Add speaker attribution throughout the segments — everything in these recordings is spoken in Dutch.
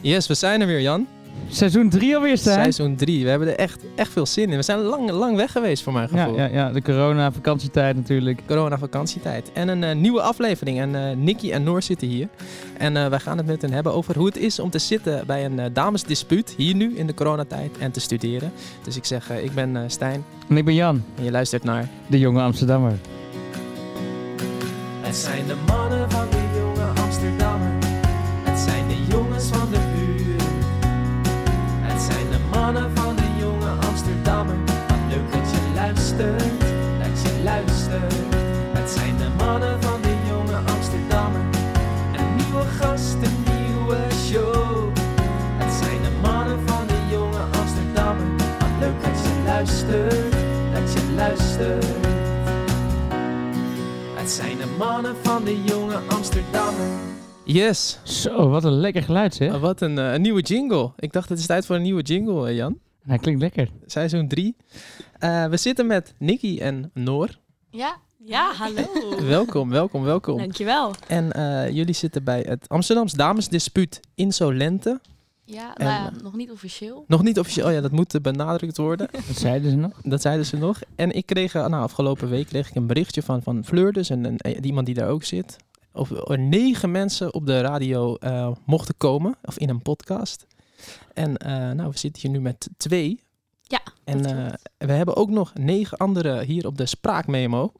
Speaker 1: Yes, we zijn er weer, Jan.
Speaker 2: Seizoen 3 alweer zijn.
Speaker 1: Seizoen 3. We hebben er echt, echt veel zin in. We zijn lang, lang weg geweest, voor mijn
Speaker 2: ja,
Speaker 1: gevoel.
Speaker 2: ja, ja, de corona vakantietijd natuurlijk.
Speaker 1: Corona-vakantietijd. En een eh, nieuwe aflevering. En eh Nicky en Noor zitten hier. En eh, wij gaan het met hen hebben over hoe het is om te zitten bij een eh, damesdispuut. Hier nu in de coronatijd en te studeren. Dus ik zeg, eh, ik ben eh, Stijn.
Speaker 2: En ik ben Jan,
Speaker 1: En je luistert naar...
Speaker 2: de jonge Amsterdammer.
Speaker 1: Het zijn de mannen van de jonge Amsterdammer. Het zijn de jongens van de buren. Het zijn de mannen van de jonge Amsterdammer. Wat leuk dat je luistert, dat je luistert. Het zijn de mannen van de jonge Amsterdammer. Een nieuwe gast, een nieuwe show. Het zijn de mannen van de jonge Amsterdammer. Wat leuk dat je luistert, dat je luistert. Het zijn de mannen van de jonge Amsterdammer. Yes,
Speaker 2: Zo, wat een lekker geluid zeg.
Speaker 1: uh, wat een, eh, een nieuwe jingle. Ik dacht het is tijd voor een nieuwe jingle, eh, Jan.
Speaker 2: Hij klinkt lekker.
Speaker 1: Seizoen 3. we zitten met Nicky en Noor.
Speaker 3: Ja, ja hallo.
Speaker 1: Welkom, welkom, welkom.
Speaker 3: Dankjewel.
Speaker 1: En eh, jullie zitten bij het Amsterdams Damesdispuut Insolente.
Speaker 3: Ja,
Speaker 1: En, eh,
Speaker 3: nou ja, nog niet officieel.
Speaker 1: Nog niet officieel, oh ja, dat moet eh, benadrukt worden.
Speaker 2: Wat zeiden ze nog?
Speaker 1: Dat zeiden ze nog. En ik kreeg, eh, nou, afgelopen week kreeg ik een berichtje van, van Fleur, dus en, iemand die daar ook zit. Of er negen mensen op de radio eh, mochten komen, of in een podcast. En eh, nou, we zitten hier nu met twee.
Speaker 3: Ja,
Speaker 1: En
Speaker 3: dat
Speaker 1: eh,
Speaker 3: klopt.
Speaker 1: we hebben ook nog negen anderen hier op de spraakmemo.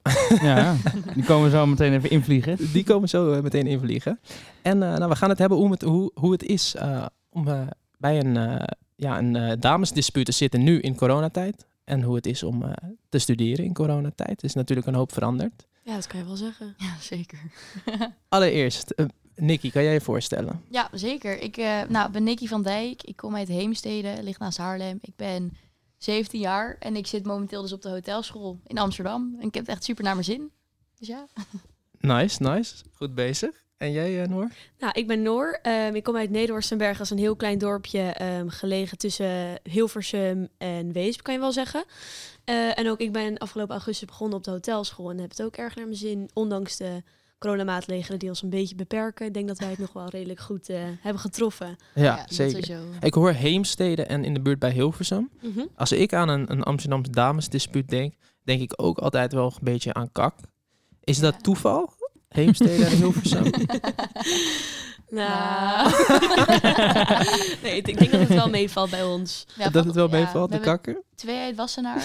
Speaker 2: Ja, die komen we zo meteen even invliegen.
Speaker 1: Die komen zo eh, meteen invliegen. En eh, nou, we gaan het hebben hoe het, hoe, hoe het is eh, om eh, bij een, eh, ja, een eh, damesdispuut te zitten nu in coronatijd. En hoe het is om eh, te studeren in coronatijd. Er is natuurlijk een hoop veranderd.
Speaker 3: Ja, dat kan je wel zeggen. Ja, zeker.
Speaker 1: Allereerst, eh, Nicky, kan jij je voorstellen?
Speaker 3: Ja, zeker. Ik eh, nou, ben Nicky van Dijk. Ik kom uit Heemstede, ligt naast Haarlem. Ik ben 17 jaar en ik zit momenteel dus op de hotelschool in Amsterdam. En ik heb het echt super naar mijn zin. Dus ja.
Speaker 1: Nice, nice. Goed bezig. En jij, eh, Noor?
Speaker 4: Nou, ik ben Noor. Ehm, ik kom uit Nederhorstenberg. Dat is een heel klein dorpje ehm, gelegen tussen Hilversum en Weesp, kan je wel zeggen. Eh, en ook ik ben afgelopen augustus begonnen op de hotelschool en heb het ook erg naar mijn zin. Ondanks de coronamaatregelen die ons een beetje beperken. Ik denk dat wij het nog wel redelijk goed eh, hebben getroffen.
Speaker 1: Ja,
Speaker 3: dat
Speaker 1: zeker.
Speaker 3: sowieso.
Speaker 1: Ik hoor Heemstede en in de buurt bij Hilversum.
Speaker 4: Mhm.
Speaker 1: Als ik aan een, een Amsterdamse damesdispuut denk, denk ik ook altijd wel een beetje aan kak. Is
Speaker 3: Ja.
Speaker 1: dat toeval? Heemstede en Hilversum?
Speaker 3: Nou.
Speaker 4: Nou. nee, ik denk dat het wel meevalt bij ons.
Speaker 3: Ja,
Speaker 1: dat het wel
Speaker 3: ja,
Speaker 1: meevalt,
Speaker 3: we
Speaker 1: de
Speaker 3: hebben
Speaker 1: kakker?
Speaker 3: Twee uit Wassenaar.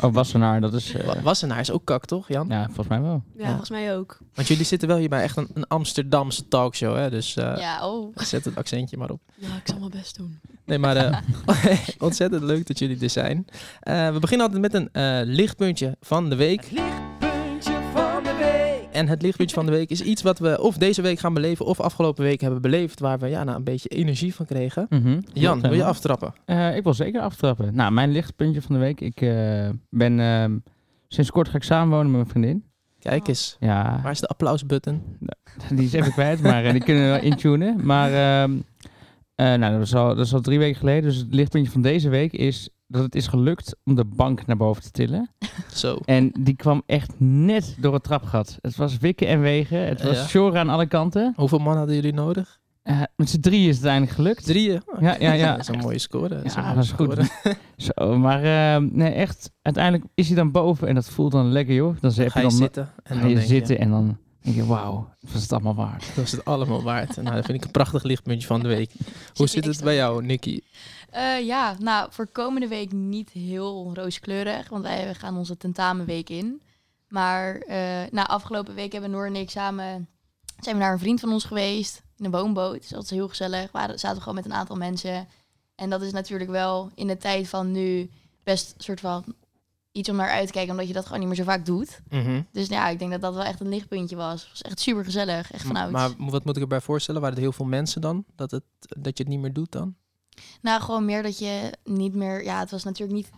Speaker 2: Oh, Wassenaar, dat is... eh,
Speaker 1: Wa- Wassenaar is ook kak, toch, Jan?
Speaker 2: ja, volgens mij wel.
Speaker 4: Ja,
Speaker 1: Ja.
Speaker 4: volgens mij ook.
Speaker 1: Want jullie zitten wel hier bij echt een, een Amsterdamse talkshow, hè? Dus eh,
Speaker 3: ja, oh.
Speaker 1: zet het accentje maar op.
Speaker 4: Ja, ik zal mijn best doen.
Speaker 1: Nee, maar eh, ontzettend leuk dat jullie er zijn. Eh, we beginnen altijd met een eh, lichtpuntje van de week. lichtpuntje van de week. En het lichtpuntje van de week is iets wat we of deze week gaan beleven of afgelopen week hebben beleefd, waar we ja, nou, een beetje energie van kregen.
Speaker 2: Mhm.
Speaker 1: Jan,
Speaker 2: Klopt,
Speaker 1: wil je
Speaker 2: hè?
Speaker 1: aftrappen?
Speaker 2: Eh, ik wil zeker aftrappen. Nou, mijn lichtpuntje van de week. Ik eh, ben... ehm, sinds kort ga ik samenwonen met mijn vriendin.
Speaker 3: Oh.
Speaker 1: Kijk eens.
Speaker 2: Ja,
Speaker 1: Waar is de applausbutton?
Speaker 2: Die is even kwijt, maar eh, die kunnen we wel intunen. Maar ehm, eh, nou, dat, is al, dat is al drie weken geleden. Dus het lichtpuntje van deze week is dat het is gelukt om de bank naar boven te tillen.
Speaker 1: Zo.
Speaker 2: En die kwam echt net door het trapgat. Het was wikken en wegen. Het was
Speaker 1: Ja.
Speaker 2: sjorren aan alle kanten.
Speaker 1: Hoeveel man hadden jullie nodig?
Speaker 2: Eh, met z'n drieën is het eindelijk gelukt.
Speaker 1: Drieën. Oh,
Speaker 2: Ja, ja, ja.
Speaker 1: Dat is een mooie score. is een mooie
Speaker 2: Ja, dat is goed.
Speaker 1: score.
Speaker 2: Zo, maar ehm, nee, echt, uiteindelijk is hij dan boven en dat voelt dan lekker, joh. Dan heb
Speaker 1: Ga
Speaker 2: je
Speaker 1: je
Speaker 2: dan
Speaker 1: zitten. En
Speaker 2: ga
Speaker 1: dan
Speaker 2: je
Speaker 1: denk
Speaker 2: zitten en dan denk je, wauw, dat was het allemaal waard.
Speaker 1: dat is het allemaal waard. Nou, dat vind ik een prachtig lichtpuntje van de week. Hoe
Speaker 3: niks
Speaker 1: zit het
Speaker 3: te
Speaker 1: bij jou, Nicky?
Speaker 3: Eh, ja, nou, voor komende week niet heel rooskleurig, want wij gaan onze tentamenweek in. Maar eh, nou, afgelopen week hebben Noor en ik samen, zijn we naar een vriend van ons geweest, in een woonboot. Dus dat is heel gezellig, we waren, zaten gewoon met een aantal mensen. En dat is natuurlijk wel in de tijd van nu best een soort van iets om naar uit te kijken, omdat je dat gewoon niet meer zo vaak doet. Dus nou ja, ik denk dat dat wel echt een lichtpuntje was. Het was echt super gezellig, echt vanuit.
Speaker 1: Maar mo- wat moet ik erbij voorstellen? Waren er heel veel mensen dan? Dat, het, dat je het niet meer doet dan?
Speaker 3: Nou, gewoon meer dat je niet meer... Ja, het was natuurlijk niet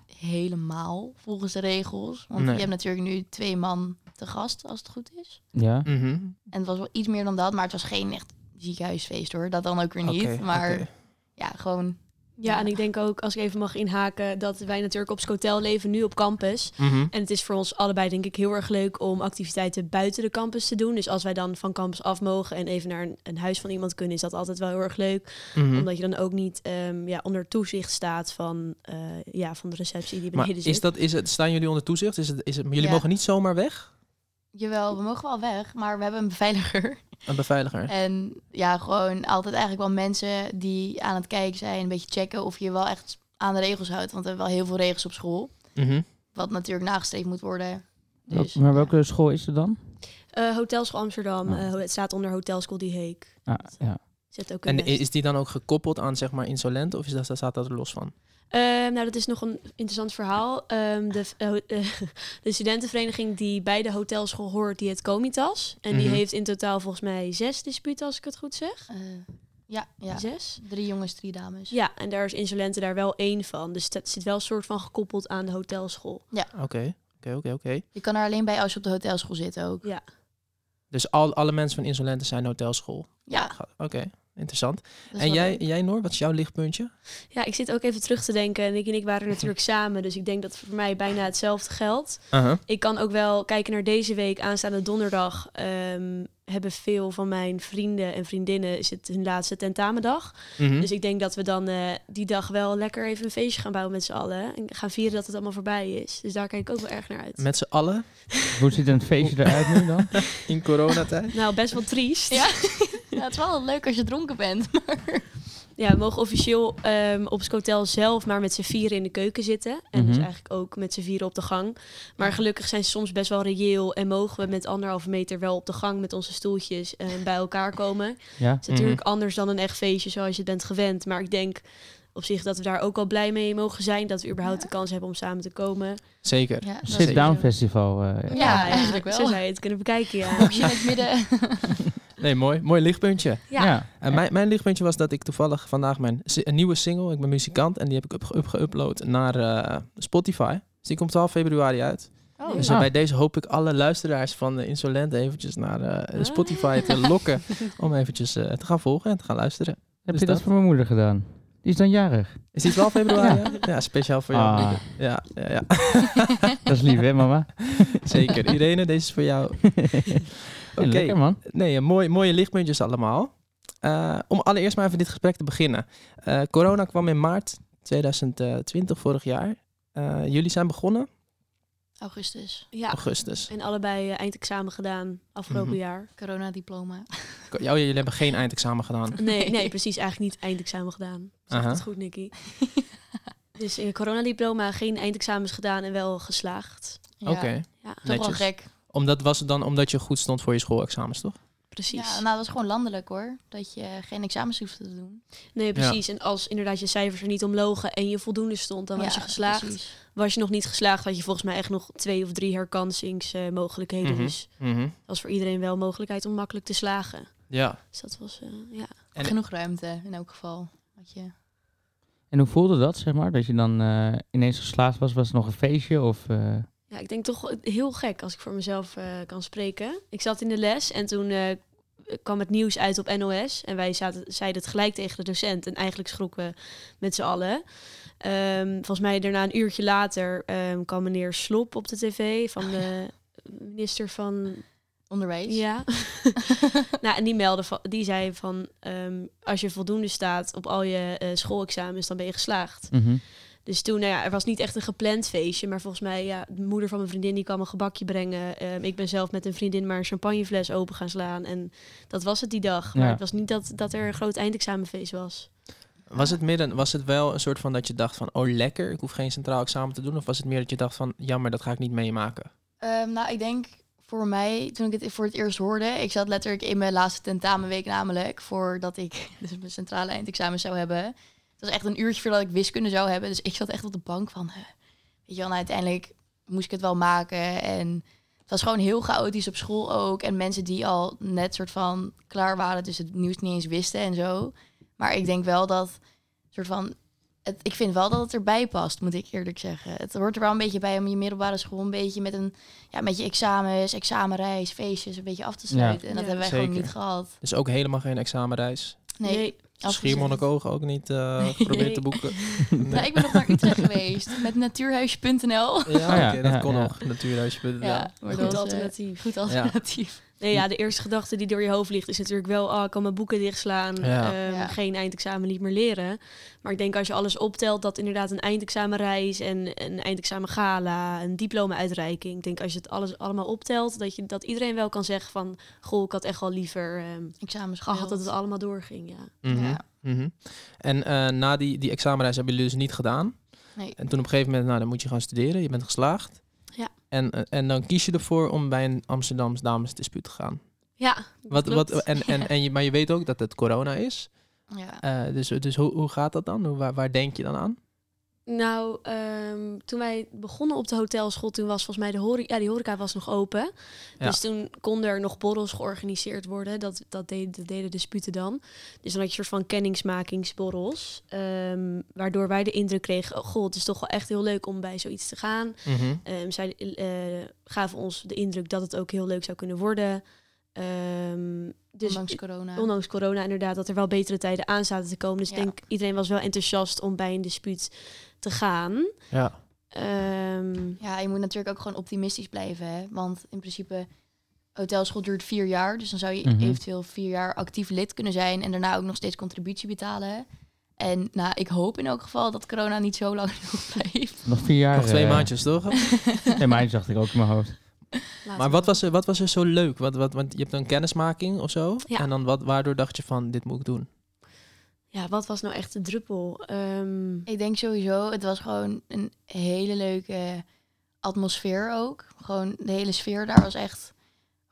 Speaker 3: helemaal volgens de regels. Want
Speaker 1: Nee.
Speaker 3: je hebt natuurlijk nu twee man te gast, als het goed is.
Speaker 2: Ja.
Speaker 3: En het was wel iets meer dan dat, maar het was geen echt ziekenhuisfeest hoor. Dat dan ook weer niet.
Speaker 1: Oké,
Speaker 3: maar
Speaker 1: oké.
Speaker 3: ja, gewoon
Speaker 4: Ja, en ik denk ook, als ik even mag inhaken, dat wij natuurlijk op Scotel leven nu op campus.
Speaker 1: Mhm.
Speaker 4: En het is voor ons allebei denk ik heel erg leuk om activiteiten buiten de campus te doen. Dus als wij dan van campus af mogen en even naar een, een huis van iemand kunnen, is dat altijd wel heel erg leuk.
Speaker 1: Hm.
Speaker 2: Mhm.
Speaker 4: Omdat je dan ook niet ehm, ja, onder toezicht staat van, eh, ja, van de receptie die
Speaker 1: Maar
Speaker 4: beneden zit.
Speaker 1: is dat, is het, staan jullie onder toezicht? Is het, is het, maar jullie
Speaker 3: Ja.
Speaker 1: mogen niet zomaar weg?
Speaker 3: Jawel, we mogen wel weg, maar we hebben een beveiliger.
Speaker 1: Een beveiliger?
Speaker 3: En ja, gewoon altijd eigenlijk wel mensen die aan het kijken zijn, een beetje checken of je je wel echt aan de regels houdt. Want we hebben wel heel veel regels op school,
Speaker 1: Mhm.
Speaker 3: wat natuurlijk nagestreefd moet worden.
Speaker 2: Wel-
Speaker 3: Dus,
Speaker 2: Maar
Speaker 3: ja.
Speaker 2: welke school is het dan?
Speaker 4: Eh, Hotelschool Amsterdam,
Speaker 2: Ah.
Speaker 4: eh, het staat onder Hotelschool Die Heek.
Speaker 2: Ah, ja.
Speaker 4: Zit ook een
Speaker 1: En
Speaker 4: nest.
Speaker 1: is die dan ook gekoppeld aan zeg maar insolent of is dat, staat dat er los van?
Speaker 4: Ehm, nou, dat is nog een interessant verhaal. Ehm, de, v- eh, ho- eh, de studentenvereniging die bij de hotelschool hoort, die heet Comitas. En die
Speaker 1: Mhm.
Speaker 4: heeft in totaal volgens mij zes disputen, als ik het goed zeg.
Speaker 3: Eh, ja, ja,
Speaker 4: Zes?
Speaker 3: drie jongens, drie dames.
Speaker 4: Ja, en daar is Insolente daar wel één van. Dus dat zit wel een soort van gekoppeld aan de hotelschool.
Speaker 1: Oké, oké, oké, oké.
Speaker 3: Je kan er alleen bij als je op de hotelschool zit ook.
Speaker 4: Ja.
Speaker 1: Dus al, alle mensen van insolenten zijn hotelschool.
Speaker 3: Ja,
Speaker 1: Ga- Oké, interessant.
Speaker 3: dat is
Speaker 1: en
Speaker 3: wel
Speaker 1: jij,
Speaker 3: leuk.
Speaker 1: jij Noor, wat is jouw lichtpuntje?
Speaker 4: Ja, ik zit ook even terug te denken. En ik en ik waren natuurlijk samen. Dus ik denk dat voor mij bijna hetzelfde geldt.
Speaker 1: Uh-huh.
Speaker 4: Ik kan ook wel kijken naar deze week. Aanstaande donderdag ehm, hebben veel van mijn vrienden en vriendinnen... is het hun laatste tentamendag.
Speaker 1: Mhm.
Speaker 4: Dus ik denk dat we dan eh, die dag wel lekker even een feestje gaan bouwen met z'n allen. En gaan vieren dat het allemaal voorbij is. Dus daar kijk ik ook wel erg naar uit.
Speaker 1: Met z'n allen
Speaker 2: Hoe ziet een feestje eruit nu dan?
Speaker 1: in coronatijd.
Speaker 4: Nou, best wel triest.
Speaker 3: Ja. Ja, het is wel leuk als je dronken bent.
Speaker 4: Ja, we mogen officieel ehm, op het hotel zelf maar met z'n vieren in de keuken zitten. En dus
Speaker 2: Mhm.
Speaker 4: eigenlijk ook met z'n vieren op de gang. Maar gelukkig zijn ze soms best wel reëel. En mogen we met anderhalve meter wel op de gang met onze stoeltjes eh, bij elkaar komen. Het
Speaker 2: Ja.
Speaker 4: is natuurlijk anders dan een echt feestje zoals je het bent gewend. Maar ik denk op zich dat we daar ook wel blij mee mogen zijn. Dat we überhaupt de kans hebben om samen te komen.
Speaker 1: Zeker.
Speaker 3: Ja, dat is
Speaker 2: Sit Down
Speaker 3: sowieso.
Speaker 2: Festival. eh.
Speaker 3: Ja, eigenlijk wel.
Speaker 4: Zo zou je het kunnen bekijken, ja.
Speaker 3: Als je in het midden...
Speaker 1: Nee, mooi. Mooi lichtpuntje.
Speaker 4: Ja.
Speaker 1: En mijn, mijn lichtpuntje was dat ik toevallig vandaag mijn si- een nieuwe single, ik ben muzikant, en die heb ik up- up- geüpload naar eh, Spotify. Dus die komt 12 februari uit.
Speaker 3: Oh,
Speaker 1: Dus
Speaker 2: Ah.
Speaker 1: eh, bij deze hoop ik alle luisteraars van eh, Insolent eventjes naar eh,
Speaker 4: Ah.
Speaker 1: Spotify te lokken. om eventjes eh, te gaan volgen en te gaan luisteren.
Speaker 2: Heb
Speaker 1: Dus
Speaker 2: je dat
Speaker 1: dat.
Speaker 2: voor mijn moeder gedaan? Die is dan jarig.
Speaker 1: Is die 12 februari?
Speaker 2: Ja.
Speaker 1: ja? ja, speciaal voor jou.
Speaker 2: Ah.
Speaker 1: Ja, ja, ja,
Speaker 2: Dat is lief, hè mama?
Speaker 1: zeker. Irene, deze is voor jou. Oké.
Speaker 2: Ja, Lekker man.
Speaker 1: Nee, eh, mooi, mooie lichtpuntjes allemaal. Eh, om allereerst maar even dit gesprek te beginnen. Eh, corona kwam in maart 2020, vorig jaar. Eh, jullie zijn begonnen?
Speaker 3: Augustus,
Speaker 4: Ja,
Speaker 1: Augustus.
Speaker 4: en allebei eh, eindexamen gedaan afgelopen
Speaker 1: Mhm.
Speaker 4: jaar.
Speaker 3: coronadiploma.
Speaker 1: Ko- Oh, jullie hebben geen eindexamen gedaan.
Speaker 4: Nee, nee, precies. Eigenlijk niet eindexamen gedaan. Zegt
Speaker 1: Aha.
Speaker 4: het goed, Nicky. dus in coronadiploma geen eindexamens gedaan en wel geslaagd.
Speaker 3: Ja,
Speaker 1: Oké,
Speaker 4: Ja,
Speaker 3: Toch wel
Speaker 1: netjes.
Speaker 3: gek.
Speaker 1: Omdat was het dan omdat je goed stond voor je schoolexamens, toch?
Speaker 4: precies.
Speaker 3: Ja, nou, dat is gewoon landelijk hoor. Dat je geen examens hoeft te doen.
Speaker 4: Nee, precies. En als inderdaad je cijfers er niet om logen en je voldoende stond, dan was
Speaker 3: Ja,
Speaker 4: je geslaagd.
Speaker 3: precies.
Speaker 4: Was je nog niet geslaagd, had je volgens mij echt nog twee of drie herkansingsmogelijkheden.
Speaker 1: Mhm.
Speaker 4: Dus dat was voor iedereen wel mogelijkheid om makkelijk te slagen.
Speaker 1: Ja.
Speaker 4: Dus dat was, eh, ja.
Speaker 1: En-
Speaker 3: Genoeg ruimte in elk geval. Had je...
Speaker 2: En hoe voelde dat, zeg maar? Dat je dan eh, ineens geslaagd was? Was het nog een feestje? Of, eh,
Speaker 4: Ja, ik denk toch heel gek als ik voor mezelf eh, kan spreken. Ik zat in de les en toen eh, kwam het nieuws uit op NOS. En wij zaten, zeiden het gelijk tegen de docent. En eigenlijk schrokken we met z'n allen. Ehm, volgens mij daarna een uurtje later ehm, kwam meneer Slop op de tv van
Speaker 3: Oh, ja.
Speaker 4: de minister van
Speaker 3: Onderwijs.
Speaker 4: ja. nou, en die meldde van, die zei van ehm, als je voldoende staat op al je eh, schoolexamens, dan ben je geslaagd.
Speaker 2: mhm.
Speaker 4: Dus toen, nou ja, er was niet echt een gepland feestje. Maar volgens mij, ja, de moeder van mijn vriendin die kwam een gebakje brengen. Ehm, ik ben zelf met een vriendin maar een champagnefles open gaan slaan. En dat was het die dag. Maar
Speaker 2: Ja.
Speaker 4: het was niet dat, dat er een groot eindexamenfeest was.
Speaker 1: Was het, midden, was het wel een soort van dat je dacht van, oh lekker, ik hoef geen centraal examen te doen? Of was het meer dat je dacht van, jammer, dat ga ik niet meemaken?
Speaker 3: Ehm, nou, ik denk voor mij, toen ik het voor het eerst hoorde, ik zat letterlijk in mijn laatste tentamenweek namelijk, voordat ik dus mijn centrale eindexamen zou hebben. Het was echt een uurtje voordat ik wiskunde zou hebben, dus ik zat echt op de bank van, eh, weet je wel, nou, uiteindelijk moest ik het wel maken en het was gewoon heel chaotisch op school ook en mensen die al net soort van klaar waren, dus het nieuws niet eens wisten en zo. Maar ik denk wel dat soort van het, ik vind wel dat het erbij past, moet ik eerlijk zeggen. Het hoort er wel een beetje bij om je middelbare school een beetje met een ja, met je examens, examenreis, feestjes een beetje af te sluiten. En dat
Speaker 4: Ja,
Speaker 3: hebben wij
Speaker 1: zeker.
Speaker 3: gewoon niet gehad.
Speaker 1: Dus ook helemaal geen examenreis.
Speaker 3: Nee, Afgezet.
Speaker 1: Schiermonnikoog ook niet eh geprobeerd te boeken. Nee.
Speaker 3: Nou, ik ben nog naar Utrecht geweest met natuurhuisje.nl.
Speaker 1: Ja,
Speaker 2: Ah, ja,
Speaker 1: oké, dat
Speaker 2: ja,
Speaker 1: kon
Speaker 2: ja.
Speaker 1: nog. Natuurhuisje.nl.
Speaker 3: Ja,
Speaker 4: Goed
Speaker 3: maar dat was eh,
Speaker 4: alternatief.
Speaker 3: goed alternatief.
Speaker 4: Nee, ja, de eerste gedachte die door je hoofd ligt is natuurlijk wel... ah, ik kan mijn boeken dichtslaan,
Speaker 1: Ja.
Speaker 4: ehm,
Speaker 3: Ja.
Speaker 4: geen eindexamen niet meer leren. Maar ik denk als je alles optelt, dat inderdaad een eindexamenreis... en een eindexamengala, een diploma-uitreiking... Ik denk als je het alles allemaal optelt, dat, je, dat iedereen wel kan zeggen van... goh, ik had echt wel liever ehm,
Speaker 3: Examens
Speaker 4: gehad dat
Speaker 3: gewild.
Speaker 4: het allemaal doorging, ja.
Speaker 1: Mhm,
Speaker 3: Ja.
Speaker 1: mhm. En eh, na die, die examenreis hebben jullie dus niet gedaan.
Speaker 3: Nee.
Speaker 1: En toen op een gegeven moment, nou, dan moet je gaan studeren. Je bent geslaagd.
Speaker 4: Ja.
Speaker 1: En, eh, en dan kies je ervoor om bij een Amsterdams damesdispuut te gaan.
Speaker 4: Ja,
Speaker 1: Wat,
Speaker 4: klopt.
Speaker 1: wat, en, en, en je, maar je weet ook dat het corona is.
Speaker 3: Ja.
Speaker 1: Eh, dus dus hoe, hoe gaat dat dan? Hoe, waar, waar denk je dan aan?
Speaker 4: Nou, ehm, toen wij begonnen op de hotelschool, toen was volgens mij de horeca, ja, die horeca was nog open.
Speaker 1: Ja.
Speaker 4: Dus toen konden er nog borrels georganiseerd worden. Dat, dat, deed, dat deden de disputen dan. Dus dan had je een soort van kennismakingsborrels. ehm, waardoor wij de indruk kregen, oh, goh, het is toch wel echt heel leuk om bij zoiets te gaan.
Speaker 1: Mhm.
Speaker 4: Ehm, zij eh, gaven ons de indruk dat het ook heel leuk zou kunnen worden. Ehm, dus
Speaker 3: Ondanks corona.
Speaker 4: ondanks corona inderdaad, dat er wel betere tijden aan zaten te komen. Dus ik
Speaker 3: Ja.
Speaker 4: denk, iedereen was wel enthousiast om bij een dispuut te gaan.
Speaker 1: Ja.
Speaker 4: Ehm,
Speaker 3: Ja, je moet natuurlijk ook gewoon optimistisch blijven. Hè? Want in principe, hotelschool duurt vier jaar. Dus dan zou je
Speaker 2: Mhm.
Speaker 3: eventueel vier jaar actief lid kunnen zijn. En daarna ook nog steeds contributie betalen. En nou, ik hoop in elk geval dat corona niet zo lang blijft.
Speaker 2: Nog vier jaar.
Speaker 1: Nog twee
Speaker 2: eh,
Speaker 1: maandjes, toch?
Speaker 2: Twee maandjes dacht ik ook in mijn hoofd.
Speaker 4: laten
Speaker 1: Maar
Speaker 4: we-
Speaker 1: wat was er, wat was er zo leuk? Wat, wat, want je hebt dan kennismaking of zo.
Speaker 4: Ja.
Speaker 1: En dan wat, waardoor dacht je van, dit moet ik doen?
Speaker 4: Ja, wat was nou echt de druppel? Ehm,
Speaker 3: Ik denk sowieso, het was gewoon een hele leuke atmosfeer ook. Gewoon de hele sfeer daar was echt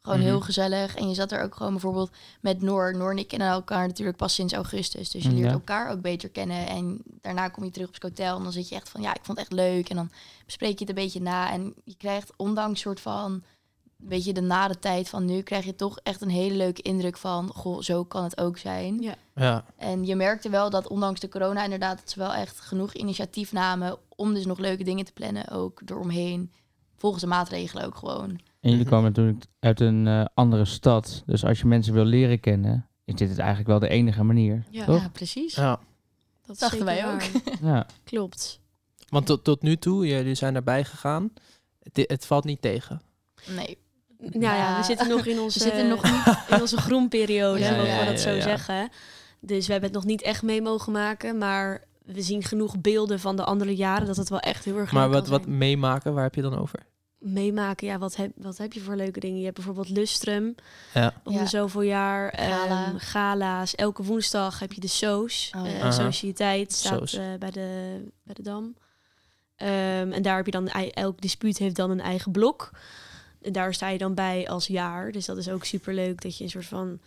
Speaker 3: gewoon
Speaker 1: Mhm.
Speaker 3: heel gezellig. En je zat er ook gewoon bijvoorbeeld met Noor. Noor en ik kennen elkaar natuurlijk pas sinds augustus. Dus je leert
Speaker 2: Ja.
Speaker 3: elkaar ook beter kennen. En daarna kom je terug op het hotel en dan zit je echt van... ja, ik vond het echt leuk. En dan bespreek je het een beetje na. En je krijgt ondanks soort van... een beetje de nare tijd van nu... krijg je toch echt een hele leuke indruk van... goh, zo kan het ook zijn.
Speaker 4: Ja.
Speaker 1: Ja.
Speaker 3: En je merkte wel dat ondanks de corona inderdaad dat ze wel echt genoeg initiatief namen om dus nog leuke dingen te plannen, ook eromheen. Volgens de maatregelen ook gewoon.
Speaker 2: En jullie
Speaker 1: Mhm.
Speaker 2: kwamen natuurlijk uit een eh, andere stad. Dus als je mensen wil leren kennen, is dit het eigenlijk wel de enige manier.
Speaker 4: ja,
Speaker 2: Toch?
Speaker 3: Ja, precies.
Speaker 1: ja.
Speaker 4: dat is
Speaker 3: dachten
Speaker 4: zeker
Speaker 3: wij
Speaker 4: waar.
Speaker 2: Ja.
Speaker 4: Klopt.
Speaker 1: Want tot, tot nu toe, jullie zijn erbij gegaan. Het, het valt niet tegen.
Speaker 3: Nee.
Speaker 4: Nou ja, we
Speaker 3: Ja.
Speaker 4: zitten nog in onze,
Speaker 3: zitten nog
Speaker 4: niet in onze groenperiode,
Speaker 3: Ja,
Speaker 4: mogen
Speaker 3: ja,
Speaker 4: we
Speaker 1: ja,
Speaker 4: dat zo
Speaker 1: ja.
Speaker 4: zeggen. Dus we hebben het nog niet echt mee mogen maken, maar we zien genoeg beelden van de andere jaren dat het wel echt heel erg
Speaker 1: Maar
Speaker 4: leuk
Speaker 1: wat,
Speaker 4: kan
Speaker 1: wat
Speaker 4: zijn.
Speaker 1: meemaken, waar heb je dan over?
Speaker 4: meemaken. Ja, wat heb, wat heb je voor leuke dingen? Je hebt bijvoorbeeld Lustrum.
Speaker 1: Ja.
Speaker 4: Om de
Speaker 3: Ja.
Speaker 4: zoveel jaar. ehm,
Speaker 3: Gala.
Speaker 4: gala's. Elke woensdag heb je de SOS.
Speaker 3: Oh,
Speaker 4: eh,
Speaker 3: ja.
Speaker 4: Sociëteit staat
Speaker 1: SOS.
Speaker 4: eh, bij, de, bij de Dam. Ehm, en daar heb je dan, ei- elk dispuut heeft dan een eigen blok. En daar sta je dan bij als jaar. Dus dat is ook super leuk dat je een soort van...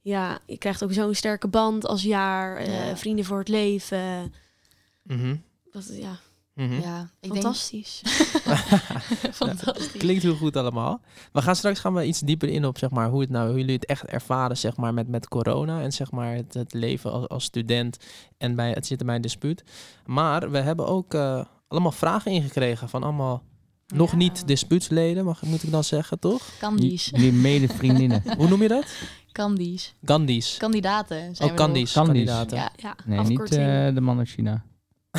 Speaker 4: Ja, je krijgt ook zo'n sterke band als jaar. eh,
Speaker 3: Ja.
Speaker 4: Vrienden voor het leven. Wat, ja,
Speaker 1: Mhm.
Speaker 3: Ja, ik
Speaker 4: fantastisch.
Speaker 3: denk fantastisch.
Speaker 1: Klinkt heel goed allemaal. We gaan straks gaan we iets dieper in op zeg maar, hoe, het nou, hoe jullie het echt ervaren zeg maar, met, met corona en zeg maar, het, het leven als, als student en bij het zitten bij een dispuut. Maar we hebben ook eh, allemaal vragen ingekregen van allemaal nog
Speaker 3: Ja.
Speaker 1: niet dispuutsleden, mag, moet ik dan zeggen, toch?
Speaker 3: Candies.
Speaker 1: Hm.
Speaker 2: Jullie medevriendinnen.
Speaker 1: Hoe noem je dat?
Speaker 3: Candies.
Speaker 1: Gandhi's.
Speaker 3: Kandidaten zijn
Speaker 1: Ook
Speaker 3: we
Speaker 1: Gandhi's,
Speaker 2: Gandhi's.
Speaker 1: kandidaten.
Speaker 3: Ja.
Speaker 4: Ja,
Speaker 2: Nee, niet
Speaker 4: afkorting.
Speaker 2: eh, de man uit China.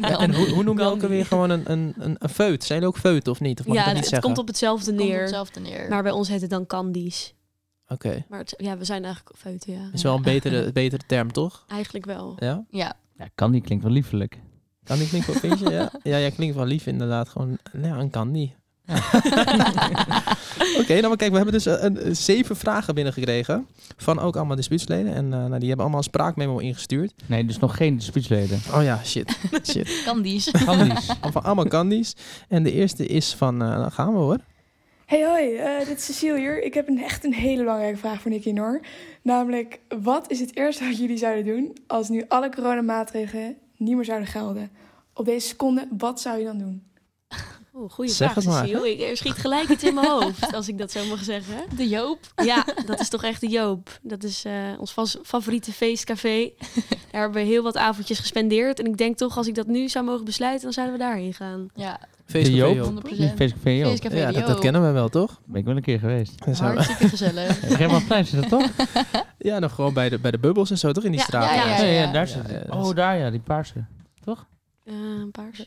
Speaker 1: Ja, en hoe, hoe noem je ook alweer gewoon een, een, een, een feut? Zijn jullie ook feut of niet? Of mag
Speaker 4: ja,
Speaker 1: ik dat
Speaker 4: het
Speaker 1: niet zeggen?
Speaker 4: komt op hetzelfde
Speaker 3: Komt op
Speaker 4: neer.
Speaker 3: hetzelfde neer.
Speaker 4: Maar bij ons heet het dan candies.
Speaker 1: Oké,
Speaker 4: Maar het- ja, we zijn eigenlijk feuten, ja.
Speaker 1: is wel een betere, betere term, toch?
Speaker 4: Eigenlijk wel.
Speaker 1: Ja?
Speaker 3: ja,
Speaker 2: Ja, kan die klinkt wel liefelijk.
Speaker 1: Kan die klinken wel vind je? Ja, ja jij klinkt wel lief inderdaad. Gewoon, nou ja, een kan die. Oké, nou maar kijk, we hebben dus eh, een, eh, zeven vragen binnengekregen. Van ook allemaal dispuutsleden. En eh, nou, die hebben allemaal een spraakmemo ingestuurd.
Speaker 2: Nee, dus nog geen dispuutsleden.
Speaker 1: Oh ja, shit. shit.
Speaker 3: Candies.
Speaker 2: Gandhi's.
Speaker 1: Van allemaal Candies. En de eerste is van, eh, nou gaan we hoor.
Speaker 5: Hey hoi, eh, dit is Cecile hier. Ik heb een, echt een hele belangrijke vraag voor Nicky Noor. Namelijk, wat is het eerste wat jullie zouden doen als nu alle coronamaatregelen niet meer zouden gelden? Op deze seconde, wat zou je dan doen?
Speaker 4: Oeh, goede
Speaker 1: Zeg
Speaker 4: vraag,
Speaker 1: het maar,
Speaker 4: Cecile. Ik, er schiet gelijk iets in mijn hoofd, als ik dat zo mag zeggen.
Speaker 3: De Joop.
Speaker 4: Ja, dat is toch echt de Joop. Dat is eh, ons vas- favoriete feestcafé. Daar hebben we heel wat avondjes gespendeerd. En ik denk toch, als ik dat nu zou mogen besluiten, dan zouden we daarheen gaan.
Speaker 3: Ja,
Speaker 2: De Joop?
Speaker 3: Ja,
Speaker 2: Ja,
Speaker 1: Feestcafé
Speaker 3: 100%.
Speaker 2: Niet VSKV ook.
Speaker 3: Feestcafé
Speaker 1: Ja,
Speaker 3: de
Speaker 1: dat, dat
Speaker 3: Joop.
Speaker 1: kennen we wel, toch?
Speaker 2: Ben ik wel een keer geweest.
Speaker 1: Dan zijn we-
Speaker 3: Hartstikke gezellig.
Speaker 2: Rembrandtplein is dat toch?
Speaker 1: Ja, nog gewoon bij de, bij de bubbels en zo, toch? In die
Speaker 3: Ja,
Speaker 1: straat.
Speaker 3: ja, ja.
Speaker 2: Nee, ja, daar zit
Speaker 1: Ja, ja,
Speaker 2: het.
Speaker 1: dat is-
Speaker 2: Oh, daar ja, die paarse.
Speaker 4: Eh, paars.